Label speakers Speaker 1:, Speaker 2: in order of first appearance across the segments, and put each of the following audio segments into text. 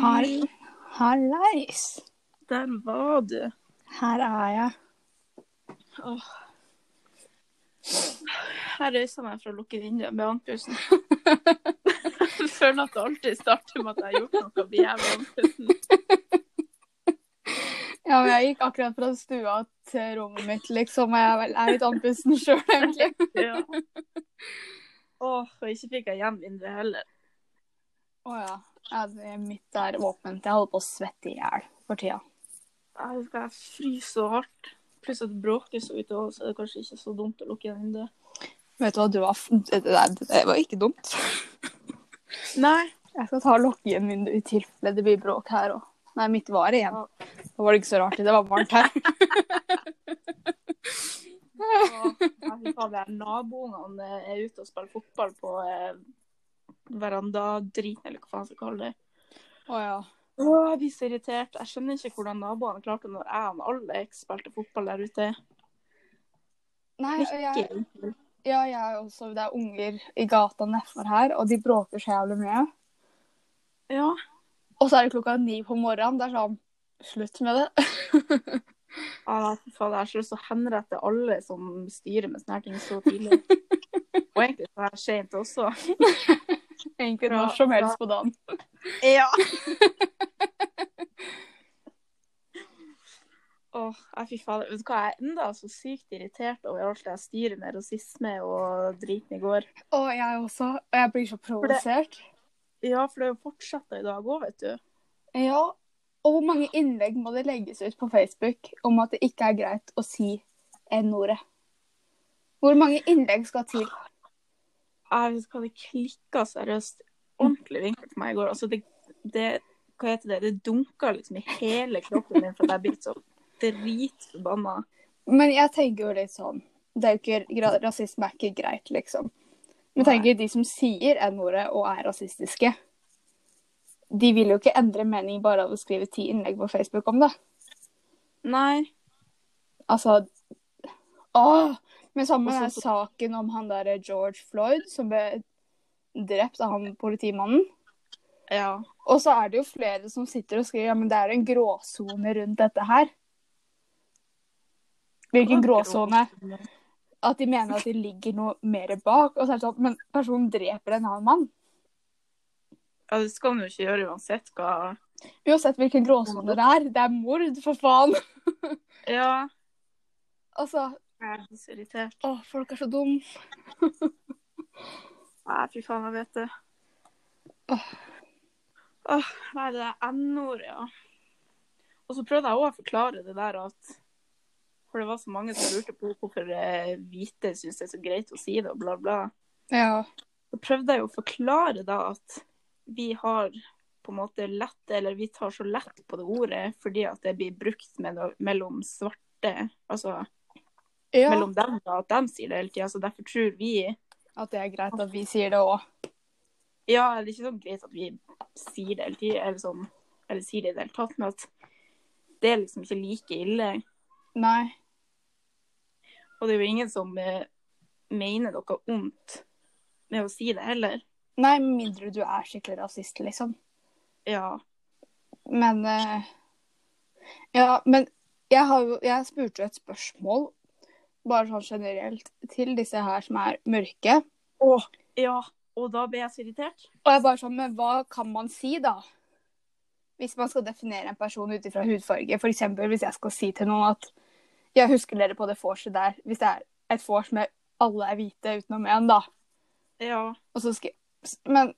Speaker 1: Hall- Hallais.
Speaker 2: Der var du.
Speaker 1: Her er jeg.
Speaker 2: Åh. Jeg røysa meg for å lukke vinduet med andpusten. Jeg føler at det alltid starter med at jeg har gjort noe blir jeg med andpusten.
Speaker 1: Ja, men jeg gikk akkurat fra stua til rommet mitt, liksom. og Jeg er vel- er litt andpusten sjøl, egentlig.
Speaker 2: Ja. Åh, og ikke fikk jeg igjen vinduet heller.
Speaker 1: Å ja. ja. det er Mitt er åpent. Jeg holder på å svette i hjel for tida.
Speaker 2: Jeg husker jeg fryser så hardt. Pluss at det bråker så ute òg, så det er kanskje ikke så dumt å lukke igjen vinduet.
Speaker 1: Vet du hva, du var f- Det der- det var ikke dumt.
Speaker 2: Nei.
Speaker 1: Jeg skal ta og lukke igjen vinduet i tilfelle det blir bråk her òg. Nei, mitt var igjen. Da var det ikke så rart. Det var varmt her.
Speaker 2: Naboene eh, er ute og spiller fotball på eh, verandadrit, eller hva faen jeg skal kalle det.
Speaker 1: Å ja.
Speaker 2: Å, jeg blir så irritert. Jeg skjønner ikke hvordan naboene klarte når jeg og Alex spilte fotball der ute.
Speaker 1: Nei, og jeg,
Speaker 2: Ikke.
Speaker 1: ja, jeg er også, det er unger i gata nedfor her, og de bråker så jævlig mye.
Speaker 2: Ja.
Speaker 1: Og så er det klokka ni på morgenen. Det er sånn Slutt med det.
Speaker 2: Ah, fy faen, jeg har så lyst til å henrette alle som styrer med sånne her ting så tidlig. Og egentlig så er det sent også.
Speaker 1: Egentlig
Speaker 2: Ja,
Speaker 1: når som helst på dagen.
Speaker 2: Ja. Åh, jeg fy faen. Vet du hva, jeg er enda så sykt irritert over alt det jeg styrer med rasisme og driten i går.
Speaker 1: Og jeg også. Og jeg blir så provosert.
Speaker 2: Ja, for det er jo fortsatt i dag òg, vet du.
Speaker 1: Ja. Og hvor mange innlegg må det legges ut på Facebook om at det ikke er greit å si N-ordet? Hvor mange innlegg skal til?
Speaker 2: jeg vet ikke hva, det klikka seriøst ordentlig vinkel for meg i går. Altså, det, det Hva heter det? Det dunka liksom i hele kroppen min fordi jeg ble så dritforbanna.
Speaker 1: Men jeg tenker jo litt sånn det er jo ikke, gra- Rasisme er ikke greit, liksom. Men
Speaker 2: Nei.
Speaker 1: tenker de som sier N-ordet og er rasistiske, de vil jo ikke endre mening bare av å skrive ti innlegg på Facebook om det.
Speaker 2: Nei.
Speaker 1: Altså Åh! Men sammen med
Speaker 2: Og
Speaker 1: den
Speaker 2: så-
Speaker 1: saken om han derre George Floyd som ble drept av han politimannen.
Speaker 2: Ja.
Speaker 1: Og så er det jo flere som sitter og skriver ja, men det er en gråsone rundt dette her. Hvilken gråsone? At de mener at det ligger noe mer bak. Og så er det sånn, men personen dreper en annen mann.
Speaker 2: Ja, det skal man jo ikke gjøre uansett hva
Speaker 1: Uansett hvilken gråsone det er. Det er mord, for faen!
Speaker 2: Ja.
Speaker 1: Altså,
Speaker 2: Jeg er så irritert.
Speaker 1: å, folk er så dum.
Speaker 2: Nei, fy faen, jeg vet det.
Speaker 1: Åh.
Speaker 2: Åh, nei, det er N-ordet, ja. Og så prøvde jeg òg å forklare det der at For det var så mange som lurte på hvorfor eh, hvite syns det er så greit å si det, og bla, bla.
Speaker 1: Ja.
Speaker 2: Så prøvde jeg jo å forklare da at vi har på en måte lett, eller vi tar så lett på det ordet fordi at det blir brukt med, mellom svarte, altså
Speaker 1: ja.
Speaker 2: mellom dem da, at de sier det hele tida. Så derfor tror vi
Speaker 1: At det er greit at vi sier det òg.
Speaker 2: Ja, det er ikke så greit at vi sier det hele tida, eller sånn, eller sier det i det hele tatt, men at det er liksom ikke like ille.
Speaker 1: Nei.
Speaker 2: Og det er jo ingen som eh, mener noe ondt med å si det heller.
Speaker 1: Nei, med mindre du er skikkelig rasist, liksom.
Speaker 2: Ja.
Speaker 1: Men eh, Ja, men jeg, har jo, jeg spurte jo et spørsmål, bare sånn generelt, til disse her som er mørke.
Speaker 2: Åh, ja. Og da ble jeg så irritert.
Speaker 1: Og jeg bare sånn, men hva kan man si, da? Hvis man skal definere en person ut ifra hudfarge. F.eks. hvis jeg skal si til noen at jeg husker dere på det vorset der. Hvis det er et vors med alle er hvite utenom én, da.
Speaker 2: Ja.
Speaker 1: Og så skal jeg, men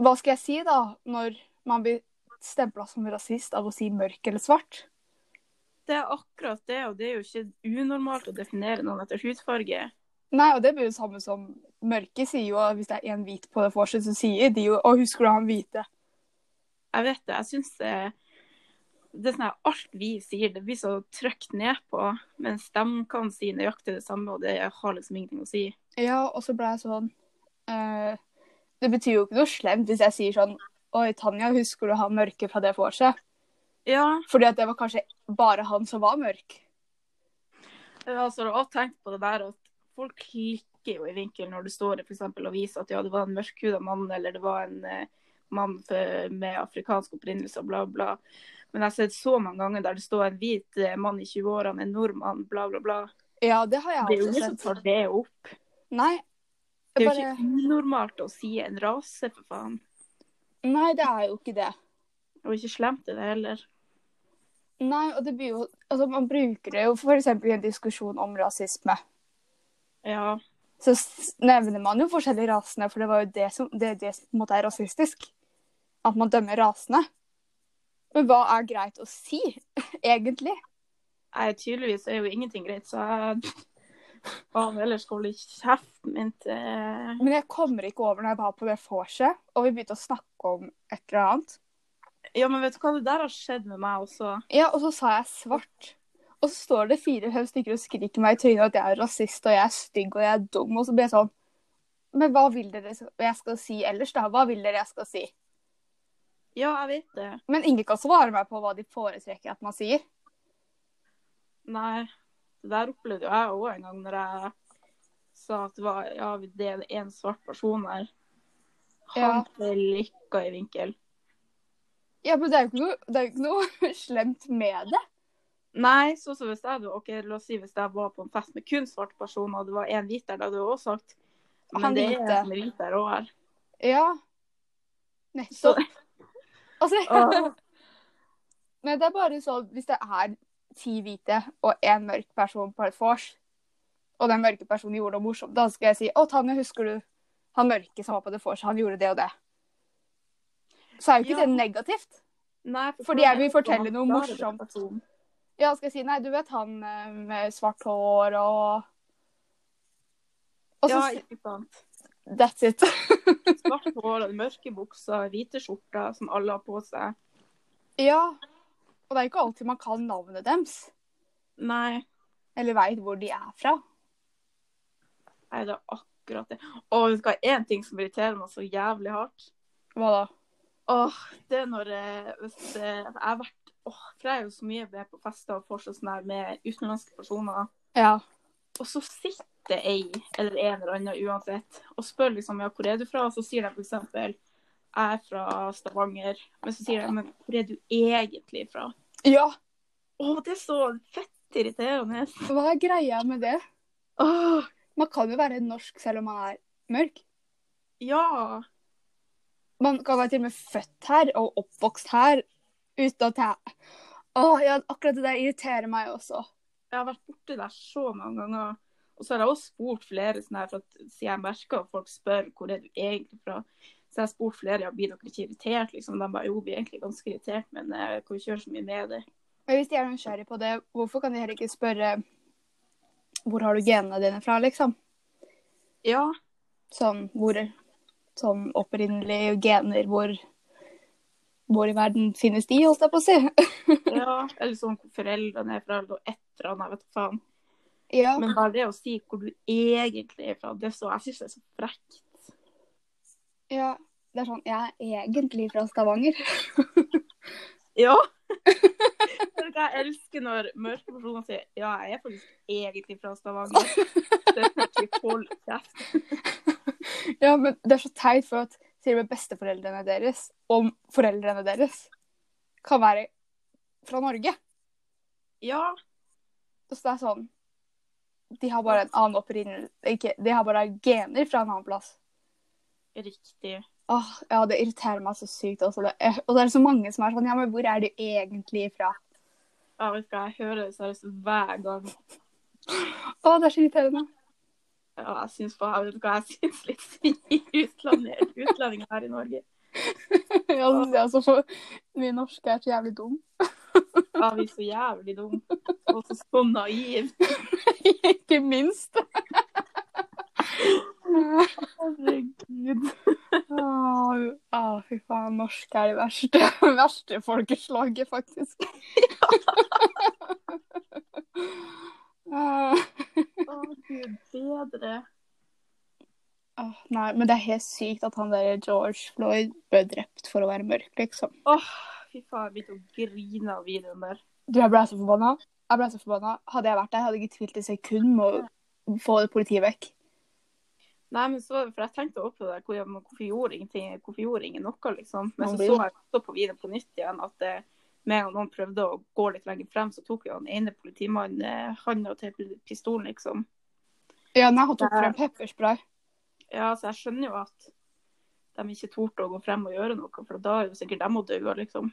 Speaker 1: hva skal jeg si, da, når man blir stempla som rasist av å si mørk eller svart?
Speaker 2: Det er akkurat det, og det er jo ikke unormalt å definere noen etter hudfarge.
Speaker 1: Nei, og det blir jo det samme som mørke sier jo, hvis det er en hvit på det vorset, så sier de jo 'Å, husker du han hvite?'
Speaker 2: Jeg vet det, jeg syns det, det er sånn her, Alt vi sier, det blir så trykt ned på, mens de kan si nøyaktig det samme, og det har liksom ingenting å si.
Speaker 1: Ja, og så ble jeg sånn eh, Det betyr jo ikke noe slemt hvis jeg sier sånn 'Oi, Tanja, husker du han mørke fra det vorset?'
Speaker 2: Ja,
Speaker 1: Fordi at det var kanskje bare han som var mørk.
Speaker 2: jeg har altså også tenkt på det der at folk klikker jo i vinkel når det står i for eksempel, avis at ja, det var en mørkhuda mann, eller det var en eh, mann for, med afrikansk opprinnelse og bla, bla. Men jeg har sett så mange ganger der det står en hvit eh, mann i 20-årene, en nordmann, bla, bla, bla.
Speaker 1: Ja, det har
Speaker 2: Det er
Speaker 1: jeg
Speaker 2: jo
Speaker 1: også
Speaker 2: ingen som
Speaker 1: sett.
Speaker 2: tar det opp.
Speaker 1: Nei,
Speaker 2: Det er jo
Speaker 1: bare...
Speaker 2: ikke unormalt å si en rase, for faen.
Speaker 1: Nei, det er jo ikke det.
Speaker 2: Og ikke slemt er det heller.
Speaker 1: Nei, og det blir jo Altså, man bruker det jo for eksempel i en diskusjon om rasisme.
Speaker 2: Ja.
Speaker 1: Så s- nevner man jo forskjellige rasene, for det var jo det som Det er det som på en måte er rasistisk. At man dømmer rasene. Men hva er greit å si, egentlig?
Speaker 2: Nei, tydeligvis er jo ingenting greit, så jeg faen ellers holder kjeften min til
Speaker 1: Men jeg kommer ikke over når jeg var på det vorset, og vi begynte å snakke om et eller annet.
Speaker 2: Ja, men vet du hva, det der har skjedd med meg også.
Speaker 1: Ja, og så sa jeg svart. Og så står det fire-fem stykker og skriker meg i trynet at jeg er rasist, og jeg er stygg, og jeg er dum, og så blir jeg sånn Men hva vil dere jeg skal si ellers, da? Hva vil dere jeg skal si?
Speaker 2: Ja, jeg vet det.
Speaker 1: Men ingen kan svare meg på hva de foretrekker at man sier.
Speaker 2: Nei, det der opplevde jo jeg òg en gang når jeg sa at det var ja, det er en svart person her. Han
Speaker 1: Ja.
Speaker 2: ble likka i vinkel.
Speaker 1: Ja, men det er jo ikke noe, det er jo ikke noe slemt med det.
Speaker 2: Nei, så så hvis jeg hadde, ok, la oss si hvis jeg var på en fest med kun svarte personer, og det var en hvit der, da hadde jeg også sagt Men
Speaker 1: Han
Speaker 2: det er
Speaker 1: hvite.
Speaker 2: en som er hvit der òg her.
Speaker 1: Ja.
Speaker 2: Så,
Speaker 1: Nettopp. Altså,
Speaker 2: Åh.
Speaker 1: men det er bare sånn hvis det er ti hvite og én mørk person på et vors, og den mørke personen gjorde noe morsomt, da skal jeg si å, Tanja, husker du han mørke som var på det vorset, han gjorde det og det. Så er jo ikke
Speaker 2: Ja.
Speaker 1: det negativt.
Speaker 2: nei, for
Speaker 1: Fordi jeg
Speaker 2: hvordan er
Speaker 1: vil
Speaker 2: det
Speaker 1: fortelle
Speaker 2: han
Speaker 1: noe
Speaker 2: klarer det,
Speaker 1: morsomt.
Speaker 2: personen?
Speaker 1: Ja, skal jeg si nei, du vet han eh, med svart hår og Og så
Speaker 2: ja,
Speaker 1: si-
Speaker 2: ikke sant.
Speaker 1: That's it.
Speaker 2: Svart hår, og mørke bukser, hvite skjorter som alle har på seg.
Speaker 1: ja. Og det er jo ikke alltid man kan navnet deres.
Speaker 2: Nei,
Speaker 1: Eller veit hvor de er fra.
Speaker 2: nei, det er akkurat det. Og vet du hva, én ting som irriterer meg så jævlig hardt.
Speaker 1: Hva da?
Speaker 2: Åh, det er når eh, hvis eh, jeg har vært Åh, for jeg er jo så mye med på fester og fortsatt sånn her med utenlandske personer.
Speaker 1: Ja.
Speaker 2: Og så sitter ei eller en eller annen uansett og spør liksom ja, hvor er du fra? Og så sier de for eksempel jeg er fra Stavanger. Men så sier de men hvor er du egentlig fra?
Speaker 1: Ja,
Speaker 2: Åh, det er så fett irriterende.
Speaker 1: hva er greia med det?
Speaker 2: Åh,
Speaker 1: Man kan jo være norsk selv om man er mørk.
Speaker 2: Ja.
Speaker 1: Man kan være til og med født her og oppvokst her uten at jeg Å, ja, akkurat det der irriterer meg også.
Speaker 2: Jeg har vært borti der så mange ganger. Og så har jeg også spurt flere sånn her, for at, siden jeg merker at folk spør hvor er du egentlig fra. Så jeg har spurt flere ja, blir dere ikke irritert. liksom. De bare jo, blir egentlig ganske irritert, men jeg kan ikke gjøre så mye med det.
Speaker 1: Men hvis de er nysgjerrig på det, hvorfor kan de heller ikke spørre Hvor har du genene dine fra, liksom?
Speaker 2: Ja,
Speaker 1: Sånn hvor Sånn opprinnelige gener, hvor Hvor i verden finnes de, holdt jeg på å si?
Speaker 2: ja. Eller sånn hvor foreldrene er fra, eller etterne, jeg vet ikke faen.
Speaker 1: Ja.
Speaker 2: Men bare det å si hvor du egentlig er fra, det er så, jeg syns det er så frekt.
Speaker 1: ja. Det er sånn Jeg er egentlig fra Stavanger.
Speaker 2: Ja. Vet du hva, Jeg elsker når mørke personer sier ja, jeg er faktisk egentlig fra Stavanger. Det er faktisk hold kjeft.
Speaker 1: Ja, men det er så teit for at til og med besteforeldrene deres og foreldrene deres kan være fra Norge.
Speaker 2: Ja,
Speaker 1: Så det er sånn De har bare en annen opprinnelse ikke, De har bare gener fra en annen plass.
Speaker 2: riktig.
Speaker 1: Åh, ja, det irriterer meg så sykt også. Det er, og det er så mange som er sånn Ja, men hvor er du egentlig fra?
Speaker 2: Jeg vet ikke, jeg hører det seriøst hver gang.
Speaker 1: Å, det er så irriterende.
Speaker 2: Ja, jeg syns faen, jeg vet ikke hva jeg syns litt synd i utlandet, utlendinger her i Norge.
Speaker 1: ja, det synes jeg også, for vi norske er så jævlig dum.
Speaker 2: Ja, vi er så jævlig dumme. Og så så naiv.
Speaker 1: ikke minst.
Speaker 2: Herregud.
Speaker 1: Åh, ah, fy faen, norsk er det verste, verste folkeslaget, faktisk. Ah,
Speaker 2: Å, gud bedre.
Speaker 1: ah, nei, men det er helt sykt at han der George Floyd ble drept for å være mørk, liksom.
Speaker 2: Åh, fy faen, jeg begynte å grine av videoen der.
Speaker 1: Du, jeg ble så forbanna. Jeg ble så forbanna. Hadde jeg vært der, hadde jeg ikke tvilt et sekund med å få politiet vekk.
Speaker 2: Nei, men så, for jeg tenkte også på det, hvor, men hvorfor gjorde ingenting, hvorfor gjorde ingen noe, liksom. Men så
Speaker 1: Man blir-
Speaker 2: så jeg også på videoen på nytt igjen at det, med en gang noen prøvde å gå litt lenger frem, så tok jo den ene politimannen eh, handa til pistolen, liksom.
Speaker 1: Ja, nei, han tok frem pepperspray.
Speaker 2: Ja, så jeg skjønner jo at de ikke torde å gå frem og gjøre noe, for da er jo sikkert dem å dø, liksom.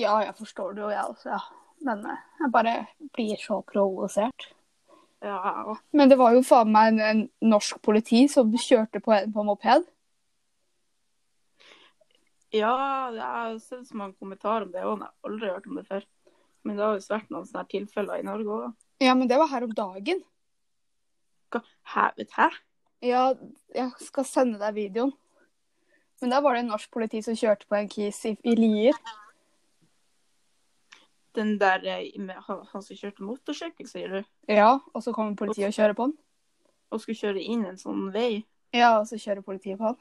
Speaker 1: Ja, jeg forstår det jo, jeg også. Ja. Men eh, jeg bare blir så provosert.
Speaker 2: Ja, jeg også.
Speaker 1: Men det var jo faen meg en, en norsk politi som kjørte på en på moped.
Speaker 2: ja, jeg har sett så mange kommentarer om det òg, men jeg har aldri hørt om det før. Men det har jo vært noen sånne her tilfeller i Norge òg.
Speaker 1: Ja, men det var her om dagen.
Speaker 2: Hæ? Vet du, hæ?
Speaker 1: Ja, jeg skal sende deg videoen. Men der var det en norsk politi som kjørte på en kis i, i Lier.
Speaker 2: Den der eh, med, han, han som kjørte motorsykkel, sier du?
Speaker 1: Ja, og så kommer politiet og kjører på han.
Speaker 2: og skulle kjøre inn en sånn vei.
Speaker 1: Ja, og så kjører politiet på han.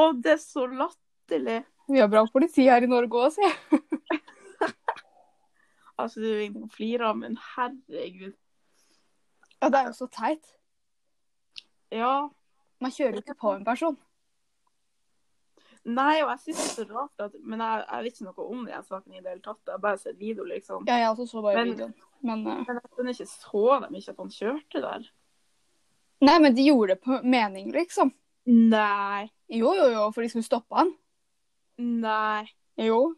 Speaker 2: Og det er så latterlig!
Speaker 1: Vi har bra politi her i Norge òg, sier jeg.
Speaker 2: Altså, det er jo ingenting å flire av, men herregud.
Speaker 1: Ja, det er jo så teit.
Speaker 2: Ja.
Speaker 1: Man kjører jo ikke på en person.
Speaker 2: Nei, og jeg syns det er så rart at Men jeg, jeg vet ikke noe om den saken i det hele tatt. Jeg har bare sett video, liksom.
Speaker 1: Ja, jeg også så bare
Speaker 2: Men-
Speaker 1: videoen. Men, eh,
Speaker 2: Men jeg skjønner ikke så dem ikke at han kjørte der.
Speaker 1: nei, men de gjorde det på mening, liksom.
Speaker 2: Nei.
Speaker 1: Jo, jo, jo, for de skulle stoppe han.
Speaker 2: Nei.
Speaker 1: Jo.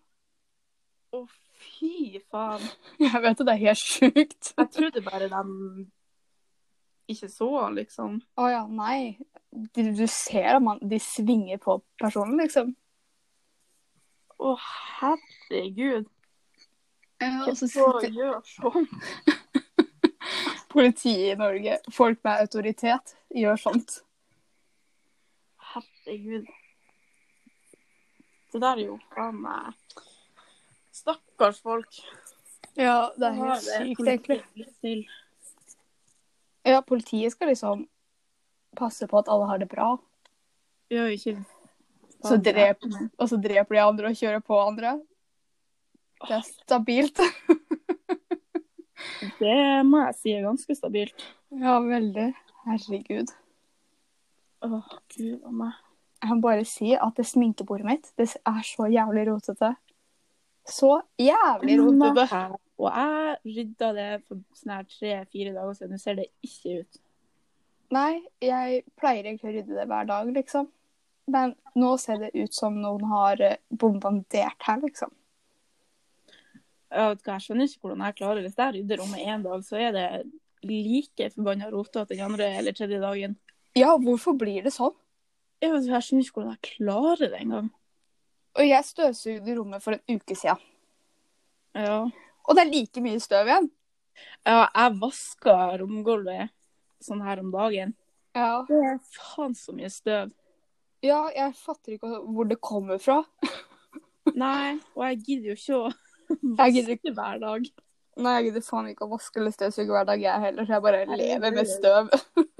Speaker 2: Å, fy faen.
Speaker 1: Jeg vet det, det er helt sjukt.
Speaker 2: Jeg trodde bare de ikke så han, liksom.
Speaker 1: Å ja, nei. Du, du ser at man, de svinger på personen, liksom.
Speaker 2: Å, herregud.
Speaker 1: Ja, altså, og så
Speaker 2: Å,
Speaker 1: sitter
Speaker 2: gjør sånn.
Speaker 1: politiet i Norge, folk med autoritet, gjør sånt.
Speaker 2: Herregud. Det der er jo faen meg Stakkars folk.
Speaker 1: Ja, det er
Speaker 2: Ja,
Speaker 1: helt sykt,
Speaker 2: politiet
Speaker 1: egentlig.
Speaker 2: blir snill.
Speaker 1: Ja, politiet skal liksom passe på at alle har det bra.
Speaker 2: Vi har jo ikke
Speaker 1: Så drep, og så dreper de andre og kjører på andre. Det er stabilt.
Speaker 2: Det må jeg si er ganske stabilt.
Speaker 1: Ja, veldig. Herregud.
Speaker 2: Å, gud a meg.
Speaker 1: Jeg må bare si at det sminkebordet mitt det er så jævlig rotete. Så jævlig rotete.
Speaker 2: Og jeg rydda det for sånn her tre-fire dager siden. Nå ser det ikke ut.
Speaker 1: Nei, jeg pleier egentlig å rydde det hver dag, liksom. Men nå ser det ut som noen har eh, bombardert her, liksom.
Speaker 2: Jeg, vet ikke, jeg skjønner ikke hvordan jeg klarer det. Hvis jeg rydder rommet én dag, så er det like forbanna rotete den andre eller tredje dagen.
Speaker 1: Ja, hvorfor blir det sånn?
Speaker 2: Jeg, vet, ikke, jeg skjønner ikke hvordan jeg klarer det engang.
Speaker 1: Og jeg støvsugde rommet for en uke siden.
Speaker 2: Ja.
Speaker 1: Og det er like mye støv igjen.
Speaker 2: Ja, jeg vaska romgulvet sånn her om dagen.
Speaker 1: Ja,
Speaker 2: Det er faen så mye støv.
Speaker 1: ja jeg fatter ikke hvor det kommer fra.
Speaker 2: Nei, og jeg gidder jo ikke å
Speaker 1: Jeg gidder
Speaker 2: vaske hver dag.
Speaker 1: Nei, jeg gidder faen ikke å vaske eller støvsuge hver dag, jeg heller. Så jeg bare lever med støv.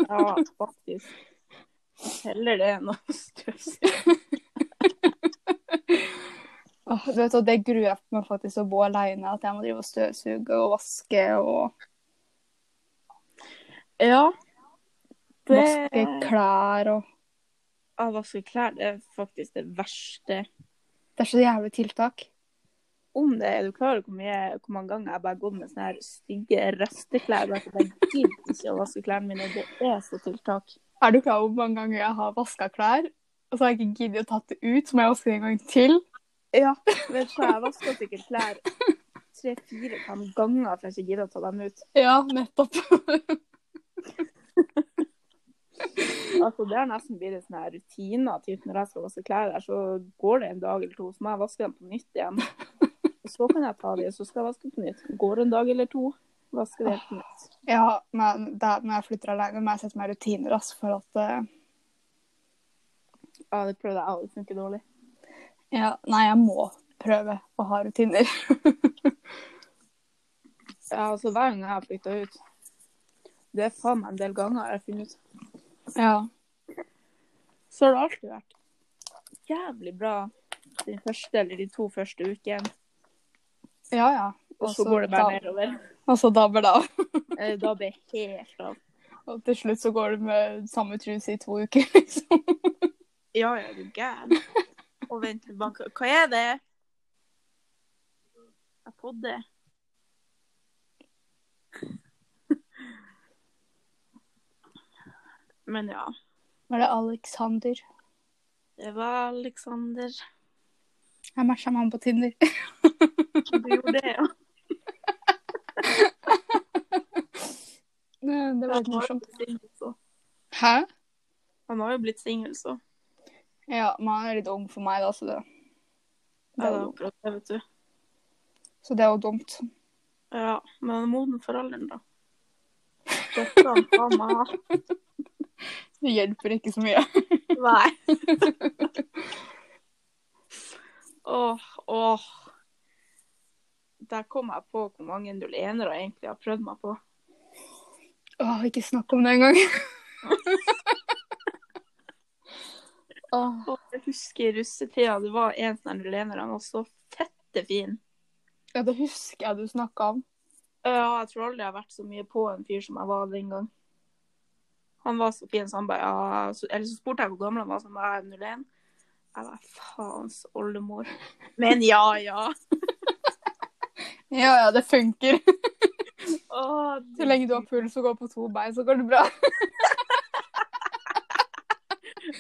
Speaker 2: Ja, faktisk. Heller det enn å støvsuge.
Speaker 1: Åh, du vet, og det gruer jeg meg faktisk å bo alene, at jeg må drive og støvsuge og vaske og
Speaker 2: Ja. Det,
Speaker 1: vaske klær og
Speaker 2: å vaske klær det er faktisk det verste.
Speaker 1: Det er så jævlig tiltak.
Speaker 2: Om det er du klar over hvor, mye- hvor mange ganger jeg bare har gått med sånne her stygge resteklær. bare for Jeg gidder ikke å vaske klærne mine. Det er så tiltak.
Speaker 1: Er du klar over hvor mange ganger jeg har vaska klær, og så har jeg ikke giddet å tatt det ut, så må jeg vaske det en gang til?
Speaker 2: Ja, vet du hva, jeg vasker sikkert klær tre-fire-fem ganger for jeg ikke gidder å ta dem ut.
Speaker 1: Ja, nettopp.
Speaker 2: Altså, Det har nesten blitt en sånn her rutine at typ når jeg skal vaske klær, der, så går det en dag eller to, så må jeg vaske dem på nytt igjen. Og så kan jeg ta dem, så skal jeg vaske på nytt. Går det en dag eller to, vasker det på nytt.
Speaker 1: Ja, men det er når jeg flytter alene, må jeg sette meg rutiner, altså, for at eh,
Speaker 2: Ja, det prøvde jeg òg, det funker dårlig.
Speaker 1: Ja, nei, jeg må prøve å ha rutiner.
Speaker 2: Ja, altså Hver gang jeg har flytta ut Det er faen meg en del ganger jeg har funnet ut.
Speaker 1: Ja.
Speaker 2: Så har det alltid vært jævlig bra den første eller de to første ukene.
Speaker 1: Ja, ja.
Speaker 2: Og så
Speaker 1: Også
Speaker 2: går det bare
Speaker 1: da-
Speaker 2: nedover.
Speaker 1: Og så dabber det av.
Speaker 2: Altså, Eh, Da blir jeg helt av.
Speaker 1: Og til slutt så går det med samme truse i to uker, liksom.
Speaker 2: Ja, ja, du er gæren. Og vent, litt, bank. hva er det? Jeg podder. Men ja.
Speaker 1: Var det Alexander?
Speaker 2: Det var Aleksander.
Speaker 1: Jeg matcha med han på Tinder.
Speaker 2: Du gjorde det, ja.
Speaker 1: Det var litt morsomt.
Speaker 2: morsomt.
Speaker 1: Hæ?
Speaker 2: Han har jo blitt singel, så.
Speaker 1: Ja, men han er litt ung for meg, da, så det,
Speaker 2: Ja, det er akkurat det, vet du.
Speaker 1: så det er jo dumt.
Speaker 2: Ja, men han er moden for alderen, da. Det skal han faen meg ha.
Speaker 1: Det hjelper ikke så mye.
Speaker 2: Nei. Åh, åh. Der kom jeg på hvor mange null enere jeg egentlig har prøvd meg på.
Speaker 1: Åh, ikke snakk om det engang. Åh,
Speaker 2: Åh, jeg husker i russetida, det var en sånn null ener, han var så fette fin.
Speaker 1: ja, det husker jeg du snakka om.
Speaker 2: Ja, jeg tror aldri jeg har vært så mye på en fyr som jeg var den gang. Han var så fin, så han bare ja, så, Eller så spurte jeg hvor gammel han var, så han bare 01. Jeg var faens oldemor. Men ja, ja.
Speaker 1: Ja, ja, det funker.
Speaker 2: Åh,
Speaker 1: Så lenge du har puls og går på to bein, så går det bra.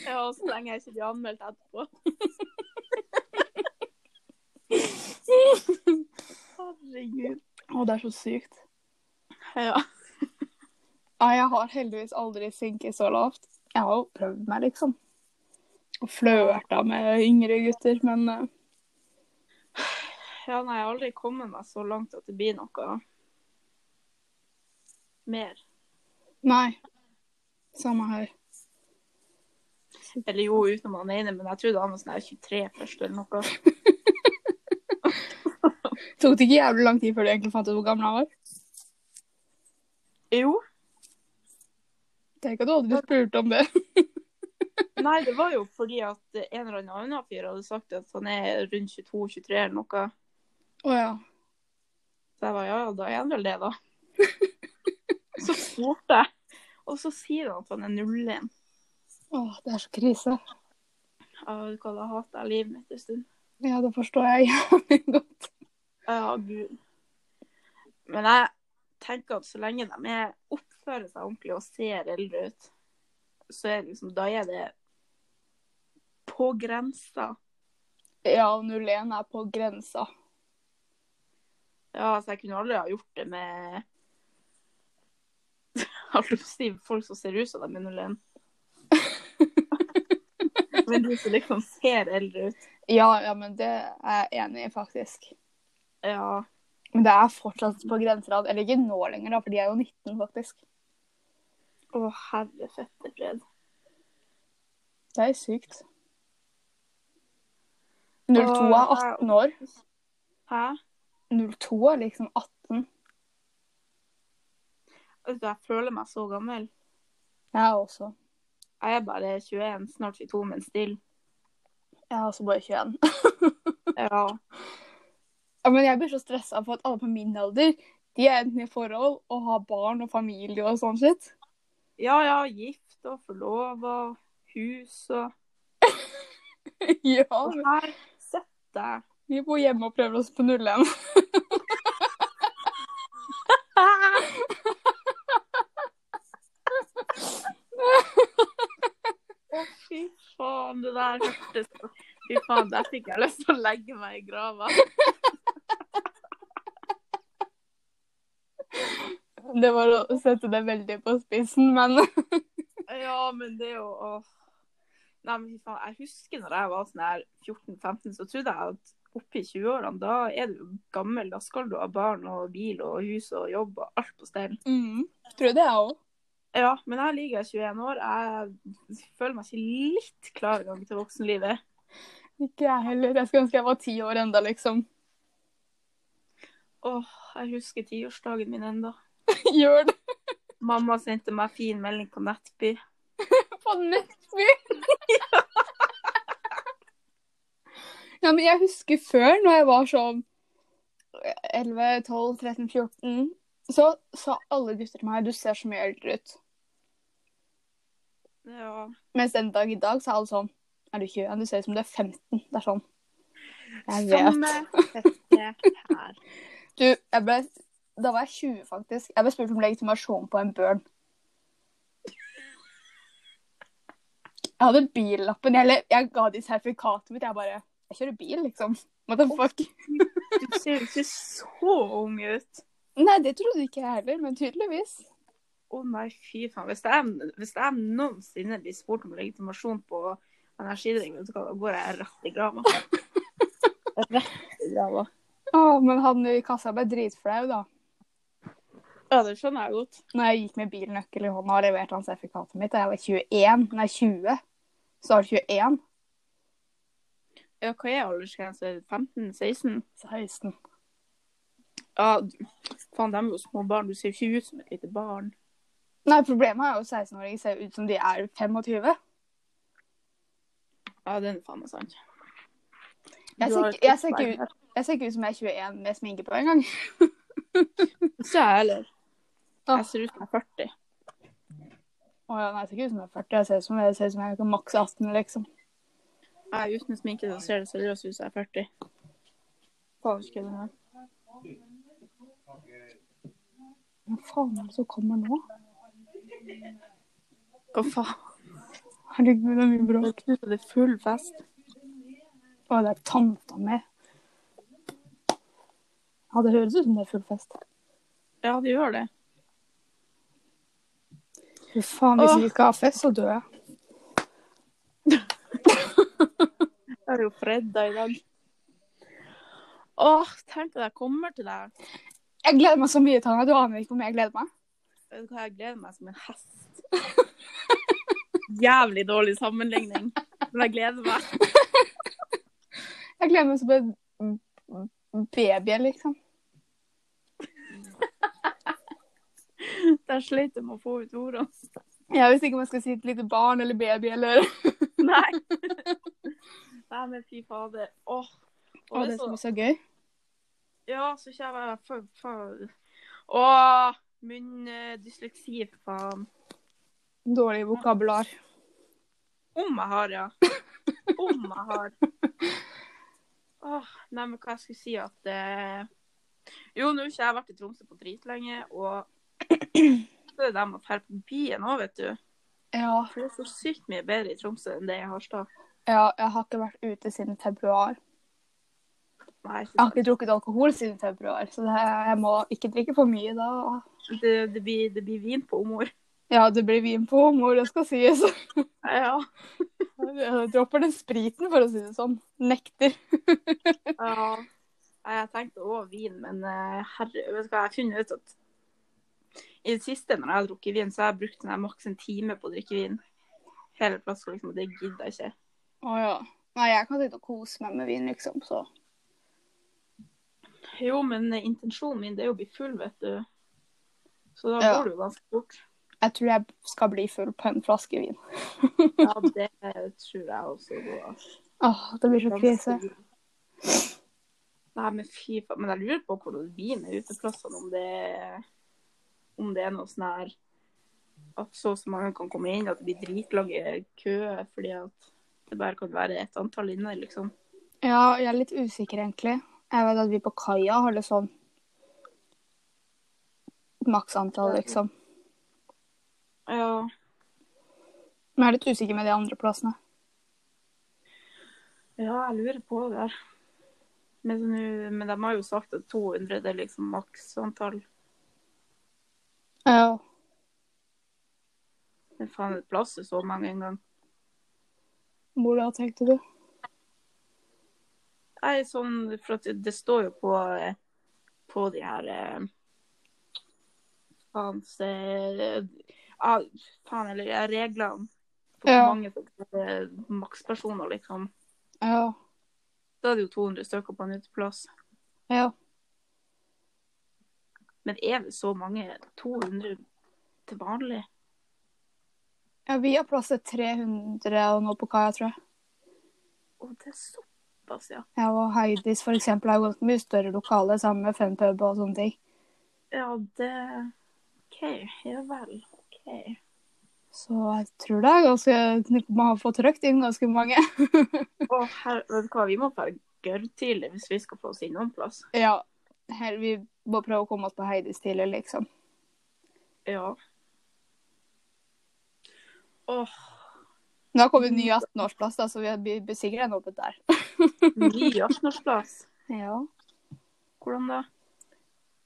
Speaker 2: Ja, og så lenge jeg ikke blir anmeldt etterpå. Herregud.
Speaker 1: Å, det er så sykt.
Speaker 2: Ja.
Speaker 1: Ja, jeg har heldigvis aldri sinket så lavt. Jeg har jo prøvd meg, liksom. Og flørta med yngre gutter, men eh,
Speaker 2: ja, nei, jeg har aldri kommet meg så langt at det blir noe mer.
Speaker 1: nei. Samme her.
Speaker 2: Eller jo, utenom han ene, men jeg trodde han var sånn her 23 først eller noe.
Speaker 1: Tok det ikke jævlig lang tid før du egentlig fant ut hvor gammel han var?
Speaker 2: Jo.
Speaker 1: Tenk at du aldri spurte om det.
Speaker 2: Nei, det var jo fordi at en eller annen annen fyr hadde sagt at han er rundt 22-23 eller noe.
Speaker 1: Å ja.
Speaker 2: Så jeg var, ja, ja, da er han vel det, da. så spurte jeg, og så sier han at han er 01.
Speaker 1: Å, det er så krise.
Speaker 2: Ja, du kan ha hatt av livet mitt en stund.
Speaker 1: Ja, det forstår jeg jævlig godt.
Speaker 2: Ja, gud. Men jeg tenker at så lenge de er oppfører seg ordentlig og ser eldre ut, så er det liksom, da er det på grensa.
Speaker 1: Ja, 01 er på grensa.
Speaker 2: Ja, altså jeg kunne aldri ha gjort det med Holdt på å si folk som ser ut som de er 01. Men de som liksom ser eldre ut.
Speaker 1: Ja, ja, men det er jeg enig i, faktisk.
Speaker 2: Ja.
Speaker 1: Men det er fortsatt på grensa. Eller ikke nå lenger, da, for de er jo 19, faktisk.
Speaker 2: Å, herre fette fred.
Speaker 1: Det er sykt. 02 er 18 år.
Speaker 2: Hæ?
Speaker 1: 02 er liksom 18.
Speaker 2: Vet du, jeg føler meg så gammel.
Speaker 1: Jeg er også.
Speaker 2: Jeg er bare 21, snart 22, men still.
Speaker 1: Jeg er også bare 21.
Speaker 2: Ja.
Speaker 1: Ja, men jeg blir så stressa for at alle på min alder de er enten i forhold og har barn og familie og sånn shit.
Speaker 2: ja, ja, gift og forlova, hus og
Speaker 1: ja,
Speaker 2: Og her sitter jeg.
Speaker 1: vi bor hjemme og prøver oss på null igjen.
Speaker 2: Å, fy faen, det der hørtes så Fy faen, der fikk jeg lyst til å legge meg i grava.
Speaker 1: Det var å sette det veldig på spissen, men
Speaker 2: Ja, men det er jo åh. Nei, men fy faen, jeg husker når jeg var sånn her 14-15, så trodde jeg at oppi 20-årene, da er du jo gammel. Da skal du ha barn og bil og hus og jobb og alt på stell.
Speaker 1: mm, tror jeg det er òg.
Speaker 2: Ja, men jeg ligger 21 år. Jeg føler meg ikke litt klar i gang til voksenlivet.
Speaker 1: Ikke jeg heller. Jeg skulle ønske jeg var ti år enda, liksom.
Speaker 2: Åh, jeg husker tiårsdagen min enda.
Speaker 1: Gjør det
Speaker 2: Mamma sendte meg fin melding på Nettby.
Speaker 1: på Nettby! ja, men jeg husker før, når jeg var sånn 11, 12, 13, 14 Så sa alle gutter til meg du ser så mye eldre ut.
Speaker 2: Ja.
Speaker 1: Mens den dag i dag så er alle sånn Er du 21? Du ser ut som du er 15. Det er sånn. Jeg vet.
Speaker 2: Samme fette eh, her.
Speaker 1: Du, jeg ble Da var jeg 20, faktisk. Jeg ble spurt om legitimasjon på en børn. Jeg hadde billappen. Jeg, le- jeg ga de sertifikatet mitt. Jeg bare Jeg kjører bil, liksom. What the fuck?
Speaker 2: Du ser jo ikke så ung ut.
Speaker 1: Nei, det trodde ikke jeg heller, men tydeligvis.
Speaker 2: Å nei, fy faen. Hvis jeg, hvis jeg noensinne blir spurt om legitimasjon på energidrikk, vet du hva, da går jeg rett i grava. Rett i grava.
Speaker 1: Å, men han i kassa ble dritflau, da.
Speaker 2: Ja, det skjønner jeg godt.
Speaker 1: Når jeg gikk med bilnøkkel i hånda og leverte han sertifikatet mitt, og jeg var 21 Nei, 20. Så var det 21.
Speaker 2: Ja, hva er aldersgrense? 15-16?
Speaker 1: Så 16.
Speaker 2: Ja, du- faen, de er jo små barn. Du ser jo ikke ut som et lite barn.
Speaker 1: Nei, problemet er jo 16-åringer ser ut som de er 25.
Speaker 2: Ja, det er faen meg sant.
Speaker 1: Jeg
Speaker 2: Du
Speaker 1: ser
Speaker 2: har
Speaker 1: ikke-
Speaker 2: et
Speaker 1: jeg ser ikke
Speaker 2: poeng her.
Speaker 1: Jeg ser ikke ut som jeg er 21 med sminke på engang.
Speaker 2: Ikke jeg heller.
Speaker 1: Åh.
Speaker 2: Jeg ser ut som jeg er 40.
Speaker 1: Å ja, nei, jeg ser ikke ut som jeg er 40. Jeg ser ut som jeg, ser ut som jeg er maks 18, liksom.
Speaker 2: Jeg er uten sminke, så ser det seriøst ut som jeg er 40. Faen, husker jeg det her.
Speaker 1: Hva faen er det som kommer nå?
Speaker 2: Hva faen?
Speaker 1: Herregud, det er mye bråk.
Speaker 2: Det er det er full fest.
Speaker 1: Å, det er tanta mi. Ja, det høres ut som det er full fest.
Speaker 2: Ja, det gjør det.
Speaker 1: Fy faen, hvis
Speaker 2: Åh.
Speaker 1: vi ikke har fest, så dør jeg.
Speaker 2: Jeg er jo fredag i dag. Åh, tenk at jeg kommer til deg.
Speaker 1: Jeg gleder meg så mye, Tanja. Du aner ikke hvor mye jeg gleder meg.
Speaker 2: Vet du hva, jeg gleder meg som en hest. Jævlig dårlig sammenligning, men jeg gleder meg.
Speaker 1: Jeg gleder meg som en baby, liksom.
Speaker 2: Jeg sliter med å få ut ordene.
Speaker 1: Jeg visste ikke om jeg skulle si et lite barn eller baby eller
Speaker 2: Nei. Nei, men fy fader. Åh.
Speaker 1: Å,
Speaker 2: Og
Speaker 1: det
Speaker 2: det så,
Speaker 1: som er så gøy.
Speaker 2: ja, så kjære jeg for, for. Åh, min eh, dysleksi, faen.
Speaker 1: Dårlig vokabular.
Speaker 2: Om jeg har, ja. Om jeg har. Åh, nei, men hva jeg skulle si at eh... Jo, nå har ikke jeg vært i Tromsø på dritlenge, og det er det med å dra på byen òg, vet du.
Speaker 1: Ja.
Speaker 2: For det er så sykt mye bedre i Tromsø enn det er i Harstad.
Speaker 1: ja, jeg har ikke vært ute siden februar.
Speaker 2: Nei,
Speaker 1: Jeg har ikke drukket alkohol siden februar, så det, jeg må ikke drikke for mye da.
Speaker 2: det, det, blir, det blir vin på omord.
Speaker 1: Ja, det blir vin på humor, det skal sies.
Speaker 2: Ja.
Speaker 1: Jeg dropper den spriten, for å si det sånn. Nekter.
Speaker 2: ja. Nei, Jeg tenkte òg vin, men eh, herre, vet du hva, jeg har funnet ut at i det siste når jeg har drukket vin, så har jeg brukt den her maks en time på å drikke vin. Hele flaska, liksom. Og det gidder jeg ikke.
Speaker 1: Å ja. Nei, jeg kan sitte og kose meg med vin, liksom, så.
Speaker 2: Jo, men eh, intensjonen min det er jo å bli full, vet du. Så da
Speaker 1: Ja.
Speaker 2: går det jo ganske fort.
Speaker 1: Jeg tror jeg skal bli full på en flaske vin.
Speaker 2: Ja, det tror jeg også går
Speaker 1: Åh, det blir så krise.
Speaker 2: Sånn Nei, men fy faen. Men jeg lurer på hvordan det blir med uteplassene, om det, om det er noe sånn her at så og så mange kan komme inn, at det blir dritlange køer fordi at det bare kan være et antall inne, liksom.
Speaker 1: Ja, jeg er litt usikker, egentlig. Jeg vet at vi på kaia har det sånn maksantall, liksom.
Speaker 2: Ja.
Speaker 1: Men jeg er litt usikker med de andre plassene.
Speaker 2: Ja, jeg lurer på det der. Men, så nå- men de har jo sagt at 200 det er liksom maksantall.
Speaker 1: Ja.
Speaker 2: Men faen, det plasser så mange en gang.
Speaker 1: Hvordan tenkte du?
Speaker 2: Nei, sånn, for at det- det står jo på, eh, på de her eh, Faens eh, ah, Faen, eller eh, reglene. For
Speaker 1: Ja.
Speaker 2: hvor mange eh, makspersoner, liksom.
Speaker 1: Ja.
Speaker 2: Da er det jo 200 stykker på en uteplass.
Speaker 1: Ja.
Speaker 2: Men er det så mange 200 til vanlig?
Speaker 1: Ja, vi har plass til 300 og nå på kaia, tror jeg.
Speaker 2: Å, det er så såpass, ja.
Speaker 1: Jeg og Heidis for eksempel, har gått mye større lokale sammen med funpub og sånne ting.
Speaker 2: Ja, det OK. Ja vel. OK.
Speaker 1: Så jeg tror det er ganske Man har fått trøkt inn ganske mange.
Speaker 2: Å, her, vet du hva, vi må være gørrtidlig hvis vi skal få oss inn noen plass.
Speaker 1: Ja. Her, vi må prøve å komme oss på Heidis tidlig, liksom.
Speaker 2: Ja. Åh,
Speaker 1: Nå har kommet en ny 18-årsplass, da, så vi blir blir sikkert en åpent der.
Speaker 2: ny 18-årsplass.
Speaker 1: Ja.
Speaker 2: Hvordan da?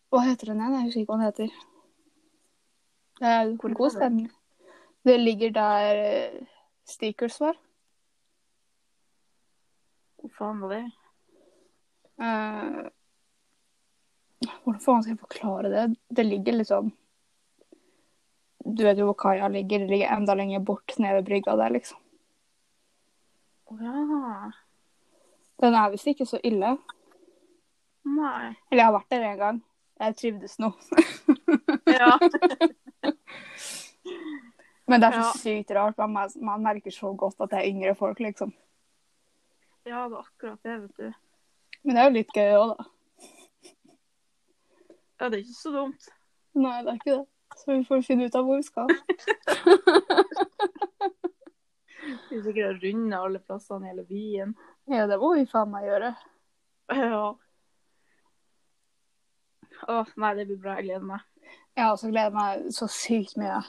Speaker 1: Hva heter den igjen? Jeg husker ikke hva den heter. Det er
Speaker 2: Hvor
Speaker 1: god
Speaker 2: ligger
Speaker 1: stemning. Det ligger der eh, Stickers var.
Speaker 2: Hvor faen var det?
Speaker 1: Eh, hvordan faen skal jeg forklare det? Det ligger liksom Du vet jo hvor kaia ligger. Det ligger enda lenger bort nede ved brygga der, liksom.
Speaker 2: Å ja.
Speaker 1: Den er visst ikke så ille.
Speaker 2: Nei.
Speaker 1: Eller jeg har vært der en gang. Jeg trivdes nå.
Speaker 2: Ja.
Speaker 1: Men det er så
Speaker 2: Ja.
Speaker 1: sykt rart. Man, mer- man merker så godt at det er yngre folk, liksom.
Speaker 2: ja, det er akkurat det, vet du.
Speaker 1: Men det er jo litt gøy òg, da.
Speaker 2: Ja, det er ikke så dumt.
Speaker 1: Nei, det er ikke det. Så vi får finne ut av hvor vi skal.
Speaker 2: Vi sikkert har rundet alle plassene i hele byen.
Speaker 1: Ja, det må vi faen meg gjøre.
Speaker 2: Ja. Å, nei, det blir bra. Jeg gleder meg.
Speaker 1: Jeg har også gleder meg så sykt mye.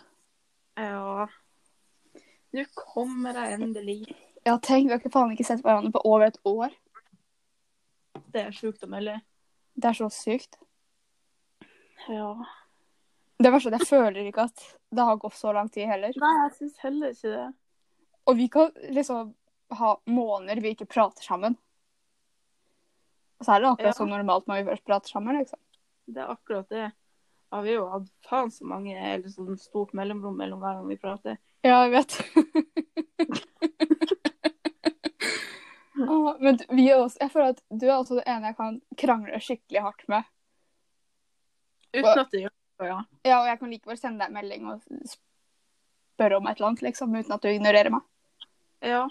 Speaker 2: Ja. Nå kommer jeg endelig.
Speaker 1: Ja, tenk, vi har ikke faen ikke sett hverandre på over et år.
Speaker 2: Det er sjukt å melde.
Speaker 1: Det er så sykt.
Speaker 2: Ja.
Speaker 1: Det verste er at jeg føler ikke at det har gått så lang tid heller.
Speaker 2: Nei, jeg syns heller ikke det.
Speaker 1: Og vi kan liksom ha måneder vi ikke prater sammen. Og så er det akkurat
Speaker 2: Ja.
Speaker 1: som normalt når vi først prater sammen, liksom.
Speaker 2: Det er akkurat det. Ja, vi har jo hatt faen så mange, eller sånn stort mellomrom mellom hver gang vi prater.
Speaker 1: Ja, jeg vet. Åh, Men vi er også, jeg føler at du er også det ene jeg kan krangle skikkelig hardt med.
Speaker 2: Uten at det gjør noe, ja.
Speaker 1: Ja, og jeg kan likevel sende deg en melding og spørre om et eller annet, liksom, uten at du ignorerer meg.
Speaker 2: Ja.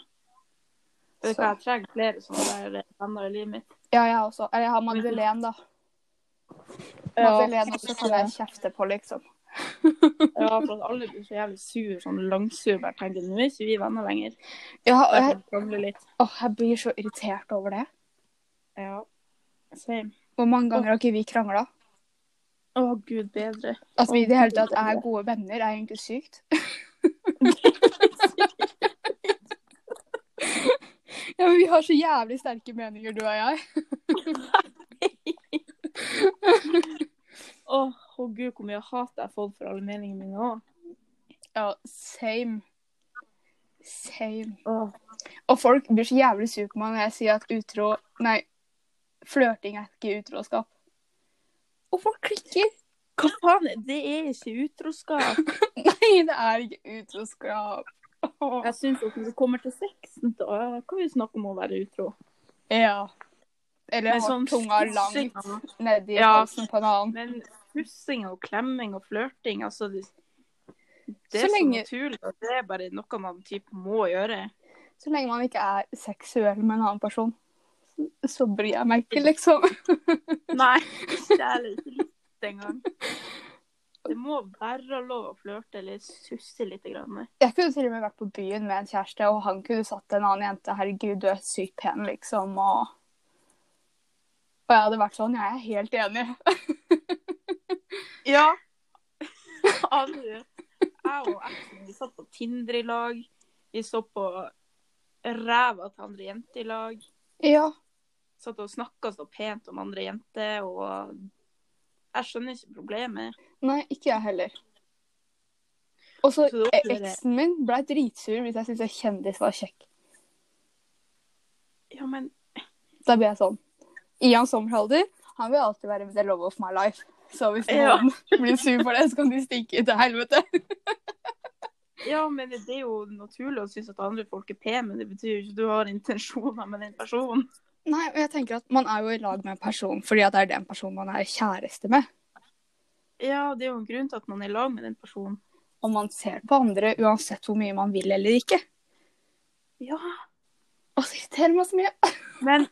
Speaker 2: Vet du
Speaker 1: Så.
Speaker 2: hva, jeg trenger flere sånne der eh, venner i livet mitt.
Speaker 1: Ja, jeg også. Eller jeg har Madeleine, da. Madeleine også kan jeg kjefte på, liksom.
Speaker 2: Ja, for at alle blir så jævlig sur, sånn langsur. Bare tenker, nå er ikke vi venner lenger.
Speaker 1: Ja, og
Speaker 2: Jeg
Speaker 1: jeg,
Speaker 2: kan krangle litt.
Speaker 1: åh, jeg blir så irritert over det.
Speaker 2: Ja. Same.
Speaker 1: Hvor mange ganger har ikke vi krangla?
Speaker 2: Å, gud bedre.
Speaker 1: At vi i det hele tatt er gode venner, er egentlig sykt. Ja, men Vi har så jævlig sterke meninger, du og jeg.
Speaker 2: Å, å gud, hvor mye hat jeg har fått for alle meningene mine òg.
Speaker 1: Ja, same. Same.
Speaker 2: Åh,
Speaker 1: Og folk blir så jævlig sure på meg når jeg sier at utro Nei, flørting er ikke utroskap. Og folk klikker.
Speaker 2: hva faen? Det er ikke utroskap.
Speaker 1: Nei, det er ikke utroskap. Åh.
Speaker 2: Jeg syns at når det kommer til sexen, da kan vi snakke om å være utro.
Speaker 1: Ja. Eller
Speaker 2: Men
Speaker 1: har
Speaker 2: sånn
Speaker 1: tunga
Speaker 2: fussing-
Speaker 1: langt nedi
Speaker 2: Ja.
Speaker 1: halsen på en annen.
Speaker 2: Men fussing og klemming og flørting, altså Det, det
Speaker 1: Så
Speaker 2: er så,
Speaker 1: lenge-
Speaker 2: naturlig. og Det er bare noe man typ må gjøre.
Speaker 1: Så lenge man ikke er seksuell med en annen person, så bryr jeg meg ikke, liksom.
Speaker 2: Nei, ikke heller ikke litt engang. Det må være lov å flørte eller susse litt. Grann.
Speaker 1: Jeg kunne til og med vært på byen med en kjæreste, og han kunne satt en annen jente. Herregud, du er sykt pen, liksom. Og, og jeg hadde vært sånn. Jeg er helt enig.
Speaker 2: Ja. Aldri. Jeg og eksen vi satt på Tinder i lag. Vi så på ræva til andre jenter i lag.
Speaker 1: Ja.
Speaker 2: Satt og snakka så pent om andre jenter, og jeg skjønner ikke problemet.
Speaker 1: Nei, ikke jeg heller. Og så
Speaker 2: Så det var ikke det.
Speaker 1: eksen min blei dritsur hvis jeg syntes en kjendis var kjekk.
Speaker 2: Ja, men
Speaker 1: Da blir jeg sånn. Ian Sommerhalder, han vil alltid være the love of my life. Så hvis
Speaker 2: Ja.
Speaker 1: noen blir sur for det, så kan de stikke til helvete.
Speaker 2: Ja, men det er jo naturlig å synes at andre folk er pene, men det betyr jo ikke at du har intensjoner med den personen.
Speaker 1: Nei, og jeg tenker at man er jo i lag med en person fordi at det er den personen man er kjæreste med.
Speaker 2: Ja, det er jo en grunn til at man er i lag med den personen.
Speaker 1: Og man ser på andre uansett hvor mye man vil eller ikke.
Speaker 2: Ja.
Speaker 1: Å, det irriterer meg så mye.
Speaker 2: Men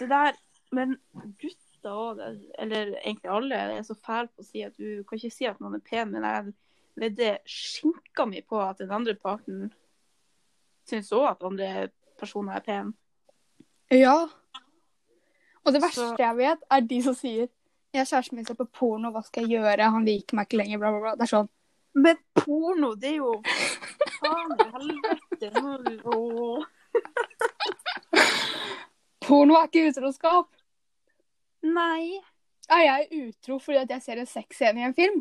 Speaker 2: det der Men gutter òg, eller egentlig alle, er så fæle på å si at du kan ikke si at noen er pen, men jeg vedder skinka mi på at den andre parten syns òg at andre personer er pene.
Speaker 1: Ja. Og det verste
Speaker 2: Så-
Speaker 1: jeg vet, er de som sier jeg og kjæresten min ser på porno, hva skal jeg gjøre? Han liker meg ikke lenger, bla, bla, bla. Det er sånn.
Speaker 2: Men porno, det er jo Faen i helvete. Nå, Åh.
Speaker 1: Porno er ikke utroskap.
Speaker 2: Nei.
Speaker 1: Er jeg utro fordi at jeg ser en sexscene i en film?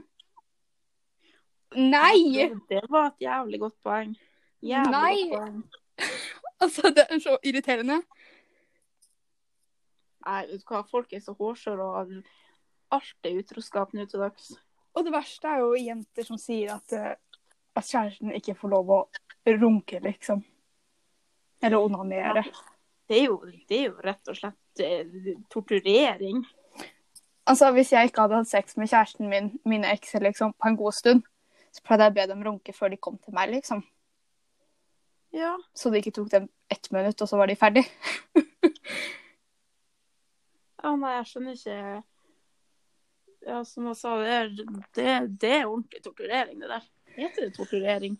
Speaker 1: Nei!
Speaker 2: Det var et jævlig godt poeng. Jævlig
Speaker 1: Nei.
Speaker 2: godt poeng.
Speaker 1: Altså, det er så irriterende.
Speaker 2: Nei, vet du hva, folk er så hårsåre, og alt er utroskap nå til dags.
Speaker 1: Og det verste er jo jenter som sier at, eh, at kjæresten ikke får lov å runke, liksom. Eller onanere.
Speaker 2: Det er jo, det er jo rett og slett eh, torturering.
Speaker 1: Altså, Hvis jeg ikke hadde hatt sex med kjæresten min, mine ekser, liksom, på en god stund, så pleide jeg å be dem runke før de kom til meg, liksom.
Speaker 2: Ja.
Speaker 1: Så det ikke tok dem ett minutt, og så var de ferdig.
Speaker 2: ja nei, jeg skjønner ikke Ja, som jeg sa, det er, det, det er ordentlig torturering, det der. Heter det torturering?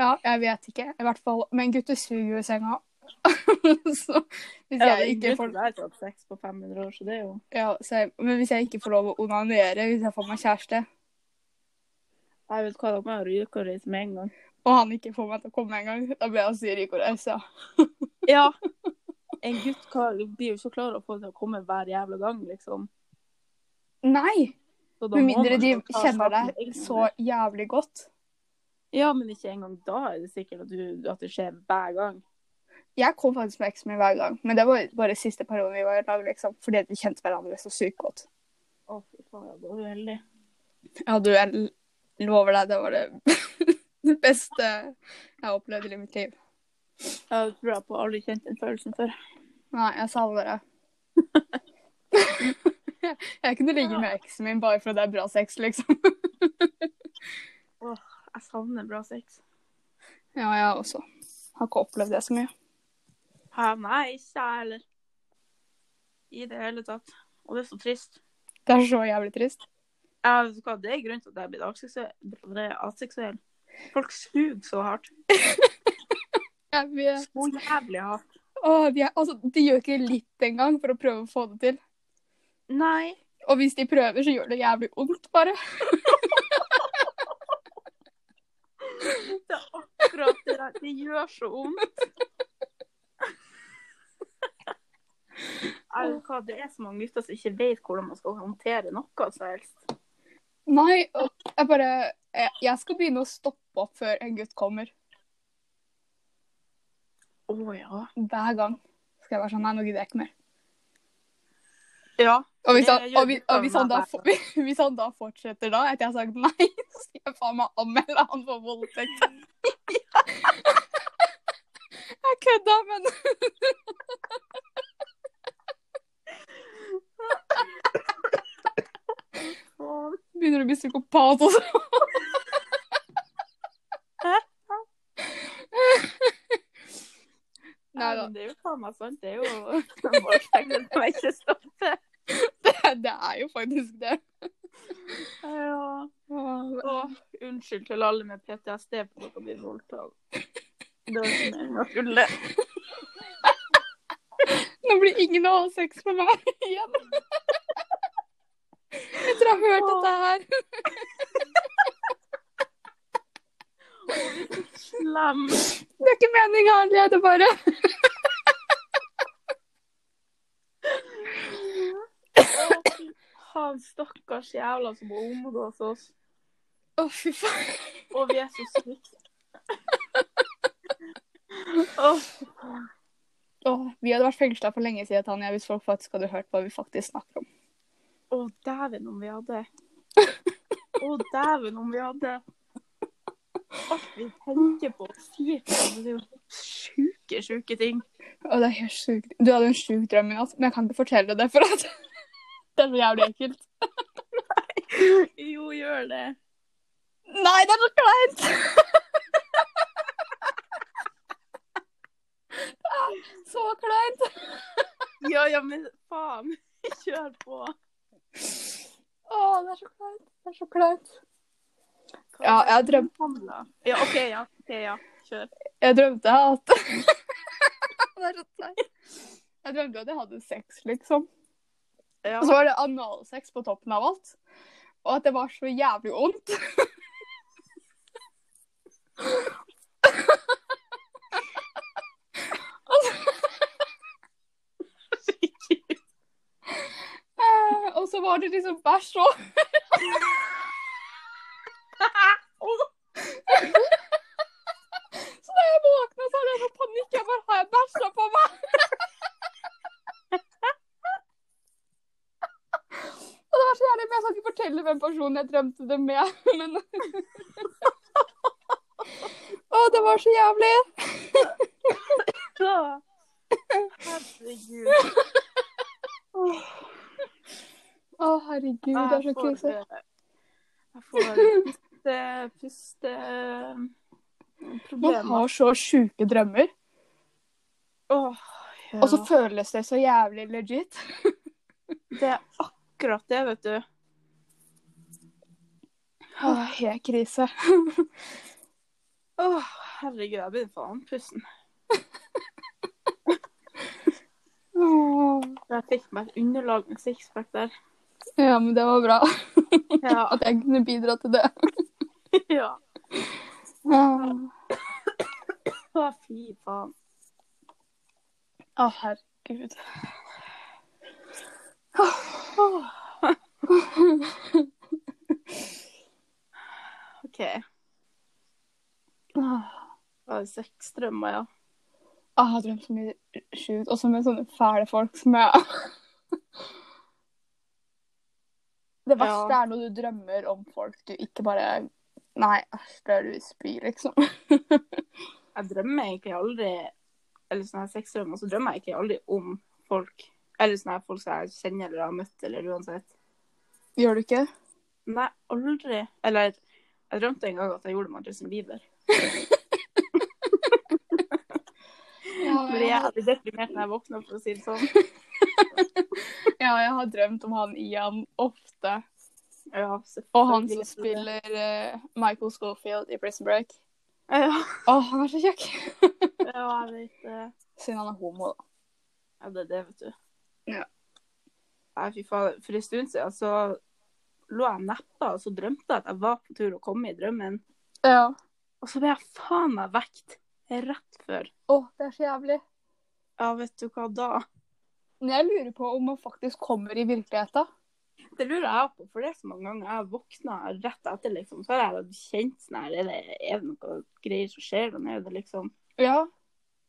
Speaker 1: Ja, jeg vet ikke. I hvert fall. Men gutter suger jo i senga. så hvis
Speaker 2: Ja,
Speaker 1: jeg ikke får
Speaker 2: Jeg har ikke hatt sex på 500 år, så det er jo
Speaker 1: ja, så jeg, Men hvis jeg ikke får lov å onanere hvis jeg får meg kjæreste,
Speaker 2: Jeg vet hva, da må jeg ryke og reise med en gang.
Speaker 1: og han ikke får meg til å komme engang, da blir jeg syrik og raus, ja.
Speaker 2: Ja. En gutt kan, blir jo ikke klar å få det til å komme hver jævla gang, liksom.
Speaker 1: Nei!
Speaker 2: Så da
Speaker 1: Med
Speaker 2: må
Speaker 1: mindre
Speaker 2: man
Speaker 1: de
Speaker 2: jo ta
Speaker 1: kjenner
Speaker 2: saken
Speaker 1: deg
Speaker 2: i egne
Speaker 1: så jævlig godt.
Speaker 2: Ja, men ikke engang da er det sikkert at, du, at det skjer hver gang.
Speaker 1: Jeg kom faktisk med eksen min hver gang, men det var bare siste perioden vi var i lag, liksom, fordi at vi kjente hverandre så sykt godt.
Speaker 2: Å, fy faen, jeg var uheldig.
Speaker 1: Ja, du, jeg l- lover deg, det var det, det beste jeg har opplevd i mitt liv.
Speaker 2: Jeg tror jeg på aldri kjent den følelsen før.
Speaker 1: Nei, jeg savner det. jeg kunne ligge med eksen min bare fordi det er bra sex, liksom.
Speaker 2: Jeg savner bra sex.
Speaker 1: Ja, jeg også. Har ikke opplevd det så mye.
Speaker 2: Hæ, nei, ikke jeg heller. I det hele tatt. Og det er så trist.
Speaker 1: Det er så jævlig trist.
Speaker 2: Jeg vet ikke hva, Det er grunnen til at jeg blir aseksuell. Det er aseksuell. Folk suger så hardt.
Speaker 1: Jeg vet.
Speaker 2: Så jævlig hardt.
Speaker 1: Åh, de, er, altså, de gjør ikke litt engang for å prøve å få det til.
Speaker 2: Nei.
Speaker 1: Og hvis de prøver, så gjør det jævlig vondt, bare.
Speaker 2: Det er akkurat det der. Det gjør så vondt. Jeg vet hva, Det er så mange gutter som ikke vet hvordan man skal håndtere noe som helst.
Speaker 1: Nei, og jeg bare jeg, jeg skal begynne å stoppe opp før en gutt kommer.
Speaker 2: Å ja.
Speaker 1: Hver gang skal jeg være sånn Nei, nå gidder jeg ikke mer.
Speaker 2: Ja.
Speaker 1: Og hvis
Speaker 2: Det
Speaker 1: han,
Speaker 2: gjør
Speaker 1: og hvis,
Speaker 2: gutter
Speaker 1: og hvis, han, da,
Speaker 2: hver
Speaker 1: for- hvis han da fortsetter da, etter jeg har sagt nei, så skal jeg faen meg anmelde han for voldtekt. Jeg kødda, men
Speaker 2: Å,
Speaker 1: begynner du å bli psykopat også. Nei da,
Speaker 2: men Det er jo faen meg sant. Det er jo voldtekter som jeg ikke stopper.
Speaker 1: det, det er jo faktisk det.
Speaker 2: Ja. Å, unnskyld til alle med PTSD for dere blir voldtatt. Det var ikke meningen å tulle.
Speaker 1: Nå blir ingen å ha sex med meg igjen. Etter å ha hørt dette her.
Speaker 2: Slem.
Speaker 1: Det er ikke meninga, det er det bare.
Speaker 2: Å, fy- Han stakkars jævla som må omgås oss.
Speaker 1: Å, fy faen.
Speaker 2: Og vi er så syke. Åh,
Speaker 1: Åh, vi hadde vært fengsla for lenge siden, Tanja, hvis folk faktisk hadde hørt hva vi faktisk snakker om.
Speaker 2: Å, dæven om vi hadde. Å, dæven om vi hadde. Alt vi tenker på og sier på, men det er jo sjuke, sjuke ting.
Speaker 1: Åh, det er helt sykt. Du hadde en sjuk drøm i natt, men jeg kan ikke fortelle det, for at det er så jævlig ekkelt.
Speaker 2: Jo, gjør det.
Speaker 1: Nei, det er så kleint! Det er kleint!
Speaker 2: Ja, ja, men faen. Kjør på.
Speaker 1: Å, det er så kleint. Det er så kleint. Ja, jeg drøm-
Speaker 2: drømte Ja, OK, ja. ok, ja. Kjør.
Speaker 1: Jeg drømte at Det er så kleint. Jeg drømte at jeg hadde sex, liksom.
Speaker 2: Ja.
Speaker 1: Og så var det analsex på toppen av alt. Og at det var så jævlig vondt. Eh, og så var det liksom bæsj òg. Så da jeg våkna, så hadde jeg noe panikk. Jeg bare Har jeg bæsja på meg? Og det var så jævlig, men jeg skal ikke fortelle hvem personen jeg drømte det med, men Å, det var så jævlig. Altså-
Speaker 2: Ja. Herregud.
Speaker 1: Å, herregud, det er så krise.
Speaker 2: Jeg får puste, puste eh,
Speaker 1: Man
Speaker 2: problemer.
Speaker 1: har så sjuke drømmer,
Speaker 2: Åh, ja.
Speaker 1: og så føles det så jævlig legit.
Speaker 2: Det er akkurat det, vet du.
Speaker 1: Å, helt krise.
Speaker 2: Åh, herregud, jeg begynner å få andpusten.
Speaker 1: Åh.
Speaker 2: Jeg fikk meg et underlag med sixpack der.
Speaker 1: Ja, men det var bra
Speaker 2: Ja.
Speaker 1: at jeg kunne bidra til det.
Speaker 2: ja.
Speaker 1: Å,
Speaker 2: Å, fy faen.
Speaker 1: herregud.
Speaker 2: Åh. OK.
Speaker 1: Åh,
Speaker 2: Da er det sexdrømmer, ja.
Speaker 1: Ah, jeg har drømt så mye sjukt, også med sånne fæle folk som jeg Det verste er når du drømmer om folk du ikke bare Nei, æsj, det er du spy, liksom.
Speaker 2: Jeg drømmer egentlig aldri Eller sånn, sånne her sexdrømmer, så drømmer jeg egentlig aldri om folk. Eller sånne her folk som jeg kjenner eller har møtt, eller uansett.
Speaker 1: Gjør du ikke?
Speaker 2: Nei, aldri. Eller jeg drømte en gang at jeg gjorde det med Justin Bieber.
Speaker 1: Ja,
Speaker 2: Fordi
Speaker 1: jeg,
Speaker 2: jeg hadde deprimert når jeg våkna, for å si det sånn.
Speaker 1: ja, jeg har drømt om han Ian ofte.
Speaker 2: Ja,
Speaker 1: Og han som
Speaker 2: selvfølgelig.
Speaker 1: spiller eh, Michael Schofield i Prison Break.
Speaker 2: Ja,
Speaker 1: Å, han er så kjekk!
Speaker 2: ja, jeg vet det.
Speaker 1: Siden han er homo, da.
Speaker 2: Ja, det er det, vet du.
Speaker 1: Ja.
Speaker 2: Nei, fy faen. For en stund siden så lå jeg og neppa, og så drømte jeg at jeg var på tur å komme i drømmen.
Speaker 1: Ja.
Speaker 2: Og så ble jeg faen meg vekt rett før.
Speaker 1: Å, det er så jævlig.
Speaker 2: Ja, vet du hva da?
Speaker 1: Men jeg lurer på om man faktisk kommer i virkeligheten.
Speaker 2: Det lurer jeg på, for det er så mange ganger jeg våkna rett etter, liksom. Så har jeg kjent sånn her, er det, er det noe greier som skjer der nede, liksom?
Speaker 1: Ja.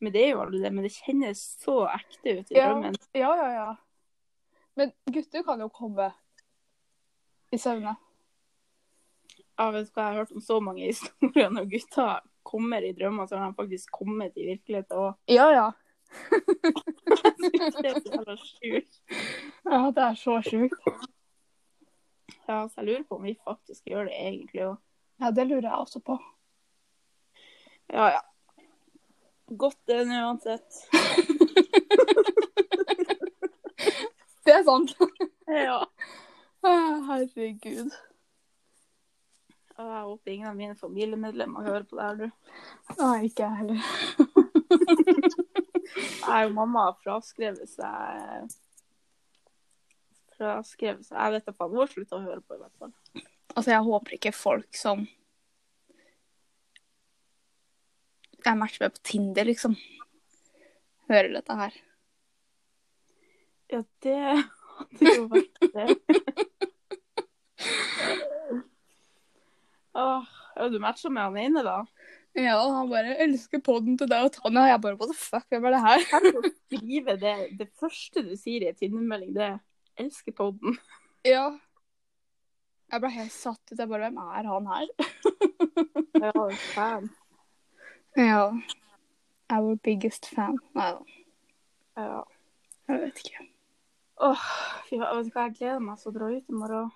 Speaker 2: Men det er jo aldri det, men det kjennes så ekte ut i
Speaker 1: Ja.
Speaker 2: drømmen.
Speaker 1: Ja, ja, ja. Men gutter kan jo komme i søvne.
Speaker 2: Jeg vet hva, jeg har hørt om så mange historier når gutter kommer i drømmer, så har de faktisk kommet i virkeligheten òg.
Speaker 1: Ja, ja.
Speaker 2: Det er så jævla sjukt.
Speaker 1: Ja, Det er så sjukt.
Speaker 2: Ja, så jeg lurer på om vi faktisk gjør det egentlig òg.
Speaker 1: Ja, det lurer jeg også på.
Speaker 2: Ja, ja. Godt det nå uansett.
Speaker 1: Det er sant.
Speaker 2: Ja.
Speaker 1: Å, Herregud.
Speaker 2: Og jeg håper ingen av mine familiemedlemmer hører på det her, du.
Speaker 1: Nei, ikke jeg heller.
Speaker 2: Jeg og mamma har fraskrevet seg Fraskrevet seg Jeg vet da faen. Hun har slutta å høre på, i hvert fall.
Speaker 1: Altså, jeg håper ikke folk som Jeg matcher med på Tinder, liksom. Hører dette her.
Speaker 2: Ja, det hadde jo vært det. Åh, ja, du matcha med han ene, da?
Speaker 1: Ja, han bare elsker podden til deg og Tanja. Jeg bare, what the fuck, hvem er det her?
Speaker 2: Kan du skrive det, det første du sier i en Tinder-melding, det er 'elsker podden'.
Speaker 1: Ja. Jeg ble helt satt ut. Jeg bare, hvem er han her?
Speaker 2: Ja, faen.
Speaker 1: Ja. Our biggest fan. Nei da,
Speaker 2: Ja.
Speaker 1: jeg vet ikke.
Speaker 2: Åh, fy, faen, vet du hva, jeg gleder meg så å dra ut i morgen.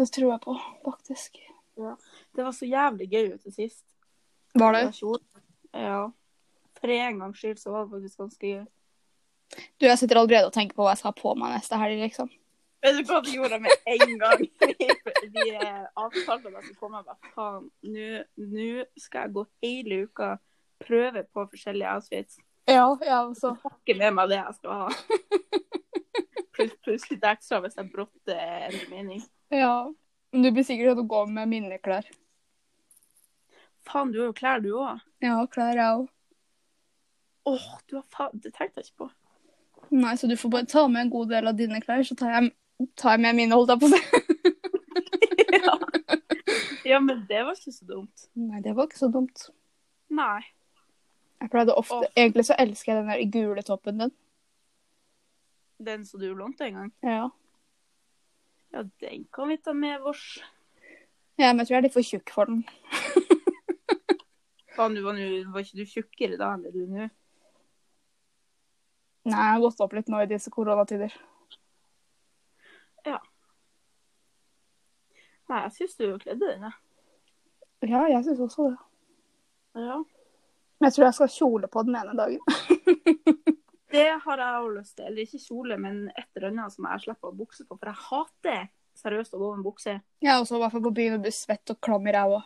Speaker 1: Det tror jeg på, faktisk.
Speaker 2: Det var så jævlig gøy ute sist.
Speaker 1: Var det?
Speaker 2: Ja. For en gangs skyld så var det faktisk ganske gøy.
Speaker 1: Du, jeg sitter allerede og tenker på hva jeg skal ha på meg neste helg, liksom.
Speaker 2: Vet du hva du gjorde med en gang? Vi eh, avtalte at jeg skulle komme. Jeg bare faen, nå- nå skal jeg gå hele uka prøve på forskjellige outfits.
Speaker 1: Ja, ja, også.
Speaker 2: Ikke med meg det jeg skal ha. Pluss- Pluss litt ekstra hvis jeg brått eh, endrer mening.
Speaker 1: Ja. Men du blir sikkert til å gå med minneklær.
Speaker 2: Faen, du har jo klær, du òg.
Speaker 1: Ja, klær, jeg òg.
Speaker 2: Åh, du har faen Det tenkte jeg ikke på.
Speaker 1: Nei, så du får bare ta med en god del av dine klær, så tar jeg, tar jeg med mine, holdt jeg på å si.
Speaker 2: Ja. ja, men det var ikke så dumt.
Speaker 1: Nei, det var ikke så dumt.
Speaker 2: Nei.
Speaker 1: Jeg pleide ofte
Speaker 2: Åh.
Speaker 1: Egentlig så elsker jeg den der gule toppen din.
Speaker 2: Den som du lånte en gang.
Speaker 1: Ja.
Speaker 2: Ja, den kan vi ta med vårs.
Speaker 1: ja, men jeg tror jeg er litt for tjukk for den.
Speaker 2: Faen, du var, nå- var ikke du tjukkere da enn det du er nå?
Speaker 1: Nei, jeg har gått opp litt nå i disse koronatider.
Speaker 2: Nei, jeg syns du kledde den, jeg.
Speaker 1: Ja, jeg syns også det.
Speaker 2: Ja.
Speaker 1: Men jeg tror jeg skal kjole på den ene dagen.
Speaker 2: Det har jeg òg lyst til. Eller ikke kjole, men et eller annet som jeg slipper å ha bukse på. For jeg hater seriøst å gå med bukse.
Speaker 1: Jeg er også i hvert fall på byen og blir svett og klam i ræva.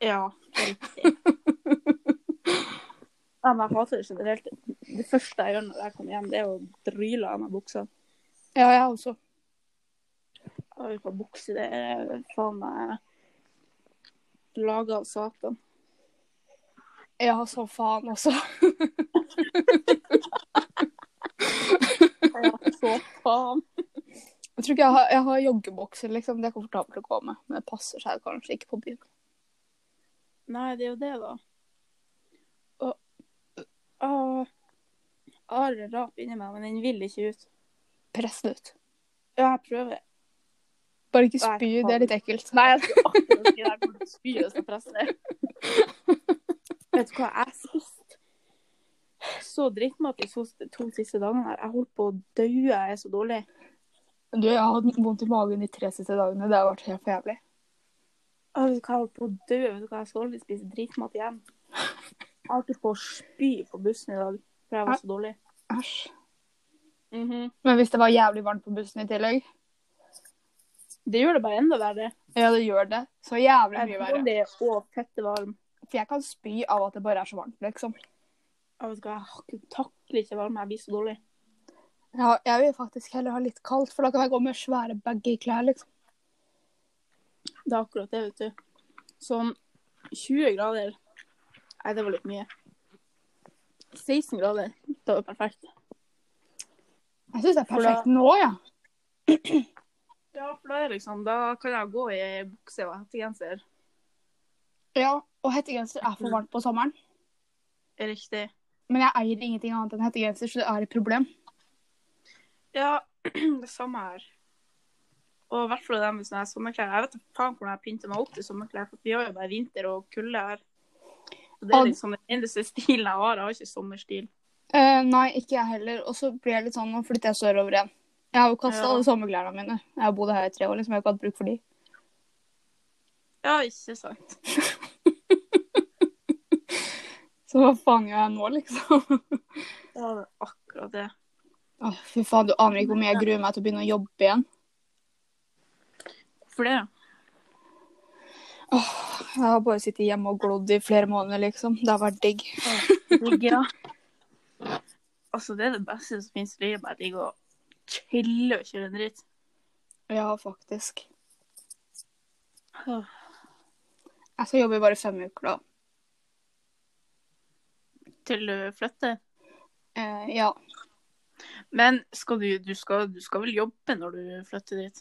Speaker 2: Ja, det er riktig. Ja, men jeg hater det generelt. Det første jeg gjør når jeg kommer hjem, det er å dryle av meg buksa.
Speaker 1: Ja, jeg også.
Speaker 2: Å ha bukse, det er faen meg laga av satan.
Speaker 1: Ja, som faen også.
Speaker 2: Ja, så faen.
Speaker 1: Jeg tror ikke jeg har, jeg har joggebokser, liksom. Det er komfortabelt å gå med. Men det passer seg kanskje ikke på byen.
Speaker 2: Nei, det er jo det, da. Og Å, Are rap inni meg, men den vil ikke ut.
Speaker 1: Press det ut.
Speaker 2: Ja, jeg prøver.
Speaker 1: Bare
Speaker 2: Nei,
Speaker 1: ikke spy,
Speaker 2: faen.
Speaker 1: det er litt ekkelt.
Speaker 2: Nei, jeg skulle akkurat si det. Jeg burde spy og så presse det. Vet du hva, jeg spiste så drittmat de to, to siste dagene her. Jeg holdt på å dø, jeg er så dårlig.
Speaker 1: Du, jeg har hatt vondt i magen de tre siste dagene. Det har vært helt for jævlig.
Speaker 2: Jeg vet du hva, jeg holdt på å dø. Vet du hva, jeg skal aldri spise dritmat igjen. Jeg holdt på å spy på bussen i dag, for jeg var så dårlig. Mhm.
Speaker 1: Æsj. Men hvis det var jævlig varmt på bussen i tillegg
Speaker 2: Det gjør det bare enda verre.
Speaker 1: Ja, det gjør det. Så jævlig
Speaker 2: Jeg
Speaker 1: mye
Speaker 2: er
Speaker 1: verre.
Speaker 2: dårlig og fette varm.
Speaker 1: For jeg kan spy av at det bare er så varmt, liksom.
Speaker 2: Jeg vet du hva, jeg takler ikke varme. Jeg blir så dårlig.
Speaker 1: Ja, jeg vil faktisk heller ha litt kaldt, for da kan jeg gå med svære baggy klær, liksom.
Speaker 2: Det er akkurat det, vet du. Sånn 20 grader Nei, det var litt mye. 16 grader. Det var perfekt.
Speaker 1: Jeg syns det er
Speaker 2: For da-
Speaker 1: perfekt nå, ja.
Speaker 2: Ja, for da er liksom Da kan jeg gå i bukse og hettegenser.
Speaker 1: Ja, og hettegenser er for varmt på sommeren.
Speaker 2: Riktig.
Speaker 1: Men jeg eier ingenting annet enn hettegenser, så det er et problem.
Speaker 2: Ja, det samme her. Og i hvert fall det med sånne her sommerklær. Jeg vet ikke faen hvordan jeg pynter meg opp til sommerklær, for vi har jo bare vinter og kulde her. Så det
Speaker 1: Og-
Speaker 2: er liksom den eneste stilen jeg har. Jeg har ikke sommerstil.
Speaker 1: Eh, nei, ikke jeg heller. Og så blir jeg litt sånn, nå flytter jeg sørover igjen. Jeg har jo kasta
Speaker 2: Ja.
Speaker 1: alle sommerklærne mine. Jeg har bodd her i tre år, liksom. Jeg har ikke hatt bruk for de.
Speaker 2: Ja, ikke sant.
Speaker 1: Så hva faen gjør jeg nå, liksom?
Speaker 2: Ja, det er akkurat det.
Speaker 1: Åh, fy faen, du aner ikke hvor mye jeg gruer meg til å begynne å jobbe igjen.
Speaker 2: For det,
Speaker 1: Åh, jeg har bare sittet hjemme og glodd i flere måneder, liksom. Det har vært digg.
Speaker 2: Digg, ja. Altså, det er det beste som finnes i livet. Bare digg å chille og kjøre en dritt.
Speaker 1: Ja, faktisk. Jeg skal jobbe i bare fem uker, da.
Speaker 2: Til du flytter.
Speaker 1: Eh, ja.
Speaker 2: Men skal du, du, skal, du skal vel jobbe når du flytter dit?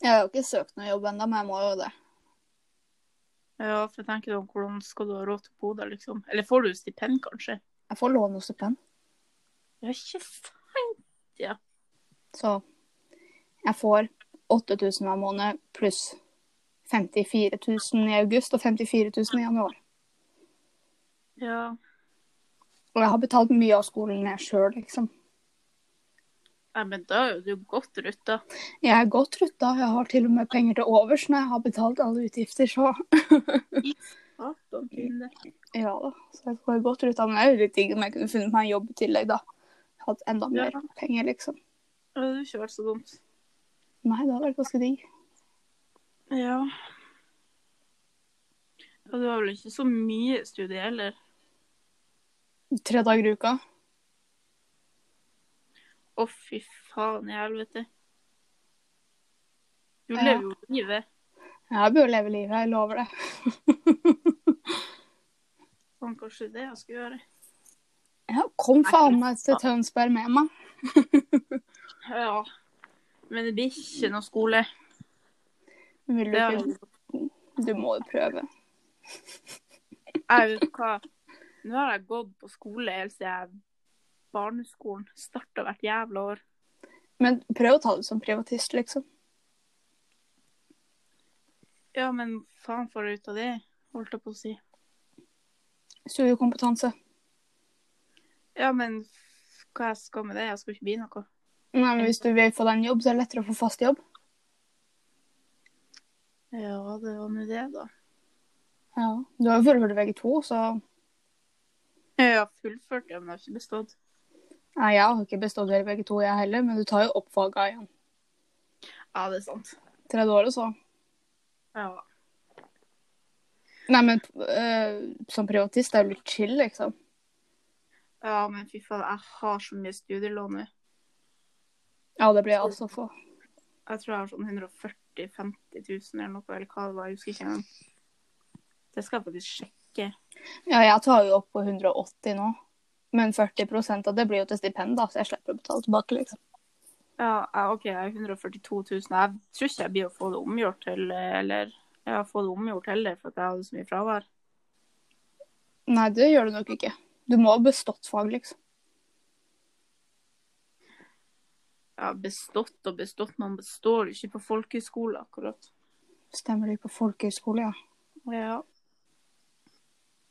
Speaker 1: Jeg har jo ikke søkt noe jobb ennå, men jeg må jo det.
Speaker 2: Ja, for jeg tenker da, hvordan skal du ha råd til å bo der, liksom? Eller får du stipend, kanskje?
Speaker 1: Jeg får låne og stipend,
Speaker 2: Ja, ikke sant.
Speaker 1: så jeg får 8000 hver måned pluss 54 000 i august og 54 000 i januar.
Speaker 2: Ja.
Speaker 1: Og jeg har betalt mye av skolen jeg sjøl, liksom.
Speaker 2: Nei, men da er jo du godt rutta.
Speaker 1: Jeg er godt rutta, jeg har til og med penger til overs når jeg har betalt alle utgifter, så
Speaker 2: Satan, kvinne.
Speaker 1: ja da. Så jeg går godt rutta, men det er jo litt digg om jeg kunne funnet meg en jobb i tillegg, da. hatt enda mer
Speaker 2: Ja.
Speaker 1: penger, liksom.
Speaker 2: Det hadde jo ikke vært så dumt.
Speaker 1: Nei, det hadde vært ganske digg.
Speaker 2: Ja. Og du har vel ikke så mye studie heller.
Speaker 1: Tre dager i uka.
Speaker 2: Å, fy faen i helvete. Du
Speaker 1: Ja.
Speaker 2: lever jo livet.
Speaker 1: Jeg bør leve livet, jeg lover det.
Speaker 2: Faen, kanskje det jeg skal gjøre.
Speaker 1: Ja, kom faen meg til Tønsberg med meg.
Speaker 2: Ja. Men det blir ikke noe skole.
Speaker 1: Vil du
Speaker 2: Det
Speaker 1: ikke? Du må jo prøve.
Speaker 2: Jeg vet hva. Nå har jeg gått på skole helt siden jeg barneskolen starta hvert jævla år.
Speaker 1: Men prøv å ta det som privatist, liksom.
Speaker 2: Ja, men faen får jeg ut av det, holdt jeg på å si.
Speaker 1: Studiekompetanse.
Speaker 2: Ja, men f- hva jeg skal med det? Jeg skal ikke bli noe.
Speaker 1: Nei, men hvis du vil få deg en jobb, så er det lettere å få fast jobb.
Speaker 2: Ja, det var nå det, da.
Speaker 1: Ja. Du har jo fullført VG2, så
Speaker 2: Jeg har fullført det, men jeg har ikke bestått.
Speaker 1: Nei, jeg har ikke bestått hele VG2, jeg heller, men du tar jo opp faga igjen.
Speaker 2: Ja, det er sant.
Speaker 1: Tredje året, så.
Speaker 2: Ja.
Speaker 1: Nei, men øh, som privatist, det er jo litt chill, liksom.
Speaker 2: ja, men fy faen, jeg har så mye studielån nå.
Speaker 1: Ja, det blir jeg altså få.
Speaker 2: Jeg tror jeg har sånn 140 000-50 000 eller noe, eller hva det var. Jeg husker ikke engang. Det skal jeg faktisk sjekke.
Speaker 1: Ja, jeg tar jo opp på 180 nå. Men 40 av det blir jo til stipend, da, så jeg slipper å betale tilbake, liksom.
Speaker 2: Ja, ja, OK, jeg er 142 000. Jeg tror ikke jeg blir å få det omgjort til Eller jeg har fått det omgjort heller, for at jeg hadde så mye fravær.
Speaker 1: Nei, det gjør du nok ikke. Du må ha bestått fag, liksom.
Speaker 2: Jeg har bestått og bestått. Man består jo ikke på folkehøyskole, akkurat.
Speaker 1: Stemmer du på folkehøyskole, ja.
Speaker 2: Ja.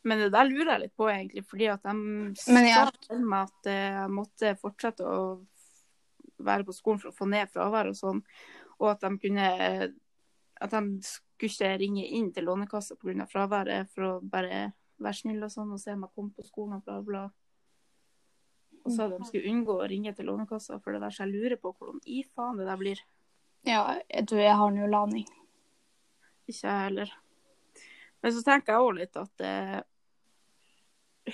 Speaker 2: Men det der lurer jeg litt på, egentlig, fordi at de
Speaker 1: Men jeg-
Speaker 2: sa til meg at eh, jeg måtte fortsette å være på skolen for å få ned fravær og sånn, og at de kunne At de skulle ikke ringe inn til Lånekassa pga. fraværet for å bare være snill og sånn og se om jeg kom på skolen og bla, bla. Og så at de skulle unngå å ringe til Lånekassa for det der, så jeg lurer på hvordan i faen det der blir.
Speaker 1: Ja, du, jeg har nå laning.
Speaker 2: Ikke jeg heller. Men så tenker jeg òg litt at eh,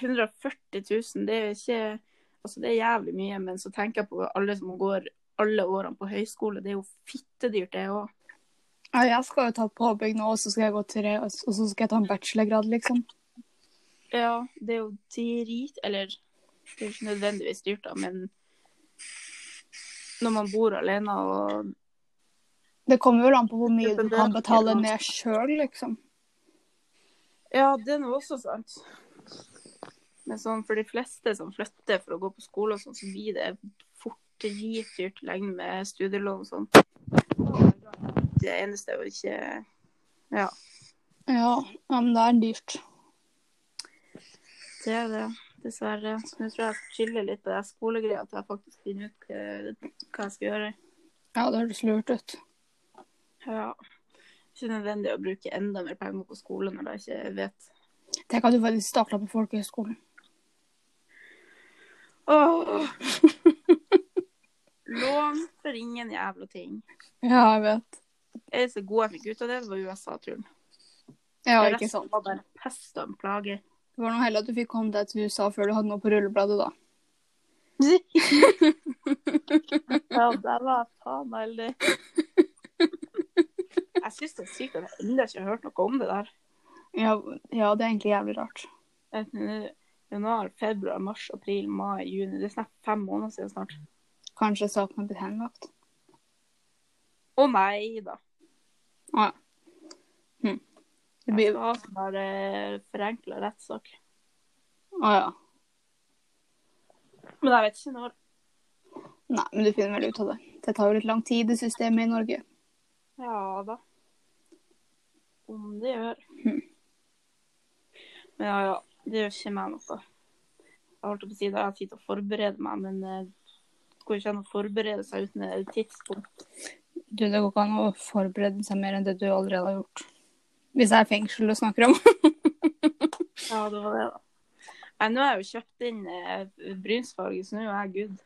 Speaker 2: 140 000, det er jo ikke Altså, det er jævlig mye, men så tenker jeg på alle som går alle årene på høyskole. Det er jo fittedyrt, det òg.
Speaker 1: Ja, jeg skal jo ta påbygg nå, og så skal jeg gå tre, og så og så skal jeg ta en bachelorgrad, liksom.
Speaker 2: Ja, det er jo drit Eller det er jo ikke nødvendigvis dyrt, da, men når man bor alene og
Speaker 1: Det kommer vel an på hvor mye du kan betale ned sjøl, liksom.
Speaker 2: Ja, det er nå også sant. Men sånn, for de fleste som flytter for å gå på skole, og sånn, så blir det fort dritdyrt lenge med studielån og sånn. Det eneste er jo ikke Ja,
Speaker 1: Ja, ja, men det er dyrt.
Speaker 2: det er det. Dessverre. Så nå tror jeg jeg skal chille litt på det her skolegreia, at jeg faktisk finner ut eh, hva jeg skal gjøre.
Speaker 1: Ja, det høres lurt ut.
Speaker 2: Ja. Ikke nødvendig å bruke enda mer penger på skole når jeg ikke vet.
Speaker 1: Tenk at du faktisk starta på folkehøyskolen.
Speaker 2: Åh! Lån for ingen jævla ting.
Speaker 1: Ja, jeg vet.
Speaker 2: Det eneste gode jeg fikk ut av det, det var USA-turen.
Speaker 1: Ja,
Speaker 2: Det
Speaker 1: ikke
Speaker 2: resten
Speaker 1: sant.
Speaker 2: var bare pest og en plage.
Speaker 1: Det var noe heldig at du fikk komme deg til USA før du hadde noe på rullebladet, da.
Speaker 2: ja, der var jeg faen meg heldig. Jeg syns det er sykt at jeg ennå ikke har hørt noe om det der.
Speaker 1: Ja, ja, det er egentlig jævlig rart.
Speaker 2: Vet du, nå- Januar, februar, mars, april, mai, juni. Det er snart fem måneder siden snart.
Speaker 1: Kanskje saken har blitt henlagt.
Speaker 2: Å nei da.
Speaker 1: Å ja. Hm. Det
Speaker 2: Jeg
Speaker 1: blir
Speaker 2: skal ha sånn der eh, forenkla rettssak.
Speaker 1: Å ja.
Speaker 2: Men jeg vet ikke når.
Speaker 1: Nei, men du finner vel ut av det. Det tar jo litt lang tid, det systemet i Norge.
Speaker 2: Ja da. Hm. Om det gjør.
Speaker 1: Mhm.
Speaker 2: Men ja, ja. Det gjør ikke meg noe. Jeg holdt på å si da jeg har tid til å forberede meg, men eh, det går ikke an å forberede seg uten et tidspunkt.
Speaker 1: Du, det går ikke an å forberede seg mer enn det du allerede har gjort. Hvis det er fengsel du snakker om.
Speaker 2: Ja, det var det, da. Nei, nå har jeg jo kjøpt inn eh, brynsfarge, så nå er jeg good.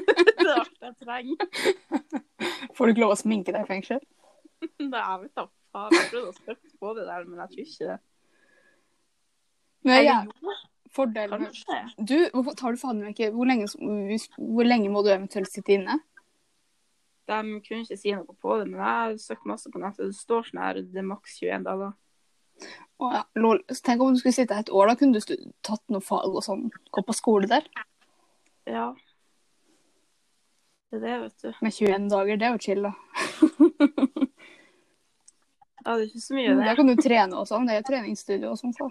Speaker 2: det er alt jeg trenger.
Speaker 1: Får du ikke lov å sminke deg i fengsel?
Speaker 2: Nei, jeg vet da faen. Jeg prøvde å spørre på det der, men jeg tror ikke det.
Speaker 1: Men ja,
Speaker 2: Eller jo,
Speaker 1: fordelen med
Speaker 2: kanskje.
Speaker 1: Du, hvorfor tar du faen meg ikke hvor lenge, hvor lenge må du eventuelt sitte inne?
Speaker 2: De kunne ikke si noe på det, men jeg har søkt masse på nettet. Det står sånn her det er maks 21 dager.
Speaker 1: Å ja, lol. Så tenk om du skulle sitte her et år, da kunne du stu- tatt noe fag og sånn. Gå på skole der.
Speaker 2: Ja. Det er det, vet du.
Speaker 1: Med 21 dager, det er jo chill, da.
Speaker 2: Ja, det er ikke så mye, det.
Speaker 1: Da kan du trene og sånn. Det er jo treningsstudio og sånn. Så.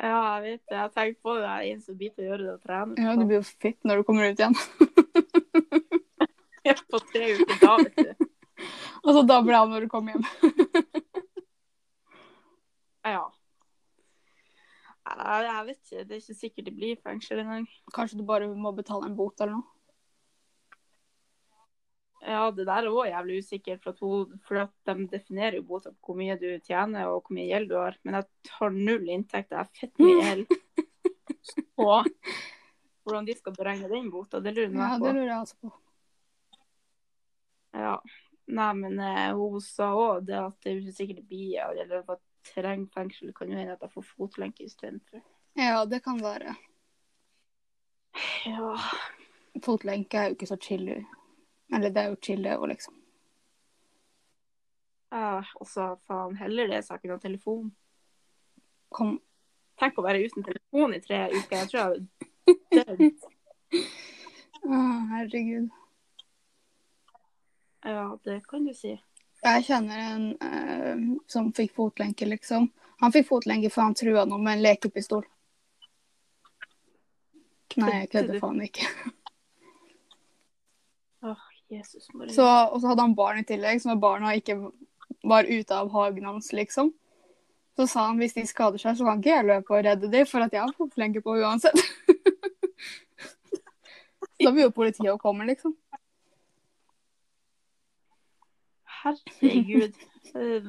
Speaker 2: Ja, jeg vet det. Jeg har tenkt på det. Jeg er en som biter å gjøre det og trene.
Speaker 1: Ja, du blir jo fit når du kommer ut igjen.
Speaker 2: Ja, på tre uker da, vet du.
Speaker 1: Og så Altså, da blir det av når du kommer hjem.
Speaker 2: Ja. Nei, Jeg vet ikke. Det er ikke sikkert det blir fengsel engang.
Speaker 1: Kanskje du bare må betale en bot eller noe.
Speaker 2: Ja, det der er også jævlig usikkert, for at, hun, for at de definerer jo bot hvor mye du tjener og hvor mye gjeld du har. Men jeg har null inntekt, jeg har fett mye gjeld. Og hvordan de skal beregne den bota, det lurer
Speaker 1: Ja,
Speaker 2: jeg
Speaker 1: det
Speaker 2: på.
Speaker 1: lurer jeg altså på.
Speaker 2: Ja. Nei, men eh, hun sa òg det at det er jo ikke sikkert det blir ja, eller at jeg trenger fengsel. Det kan jo hende at jeg får fotlenke istedenfor.
Speaker 1: Ja, det kan være.
Speaker 2: Ja.
Speaker 1: Fotlenke er jo ikke så chill. Eller det er jo chill, det òg, liksom.
Speaker 2: Ja, eh, og så faen heller det, så jeg ikke har telefon.
Speaker 1: Kom.
Speaker 2: Tenk å være uten telefon i tre uker. Jeg tror jeg hadde dødd.
Speaker 1: Å, herregud.
Speaker 2: Ja, det kan du si.
Speaker 1: Jeg kjenner en eh, som fikk fotlenke, liksom. Han fikk fotlenke for han trua noen med en lekepistol. Nei, jeg
Speaker 2: Kødder du?
Speaker 1: kødder faen ikke.
Speaker 2: Åh, Jesus Maria.
Speaker 1: Så, og så hadde han barn i tillegg, så når barna ikke var ute av hagen hans, liksom, så sa han hvis de skader seg, så kan ikke jeg løpe og redde dem, for at jeg har fotlenke på uansett. så da blir jo politiet og kommer, liksom.
Speaker 2: Herregud. Eh,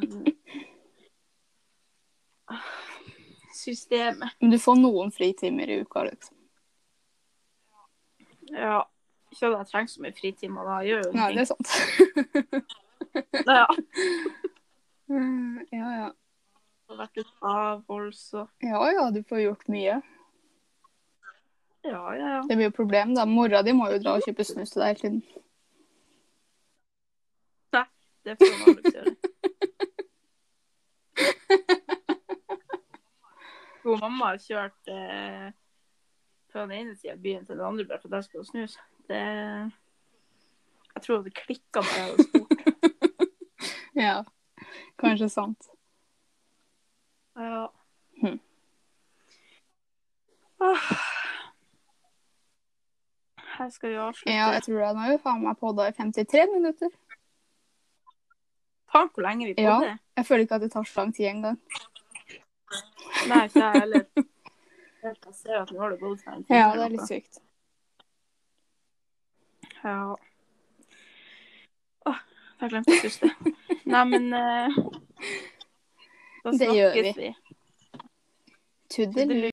Speaker 2: Systemet.
Speaker 1: Men du får noen fritimer i uka, liksom.
Speaker 2: Ja. Ikke at jeg trenger så mye fritimer da. Jeg gjør jo
Speaker 1: Nei, det
Speaker 2: ingenting.
Speaker 1: er sant.
Speaker 2: Ja.
Speaker 1: Mm, ja, ja.
Speaker 2: Jeg har vært ute avholds og
Speaker 1: Ja, ja, du får gjort mye.
Speaker 2: Ja, ja, ja.
Speaker 1: Det blir jo problem, da. Mora di må jo dra og kjøpe snus til deg hele tiden.
Speaker 2: Det får man aldri gjøre. Jo, mamma har kjørt eh, fra den ene sida av byen til den andre, bare for der skal hun snus. Det... Jeg tror det klikka da jeg var stor.
Speaker 1: Ja, kanskje sant.
Speaker 2: Ja.
Speaker 1: Hm.
Speaker 2: Åh. Ah. Her skal vi avslutte.
Speaker 1: Ja, jeg tror det. Nå har vi faen meg podda i 53 minutter.
Speaker 2: Faen, hvor lenge vi på
Speaker 1: Ja.
Speaker 2: det?
Speaker 1: Jeg føler ikke at det tar så lang tid engang.
Speaker 2: Nei, ikke jeg heller. Jeg ser at nå har det gått en time
Speaker 1: Ja,
Speaker 2: eller
Speaker 1: det er
Speaker 2: noe.
Speaker 1: litt sykt.
Speaker 2: Ja. Åh, jeg glemte å puste. Nei, men eh, Da
Speaker 1: Det gjør
Speaker 2: snakkes vi.
Speaker 1: Tuddelu.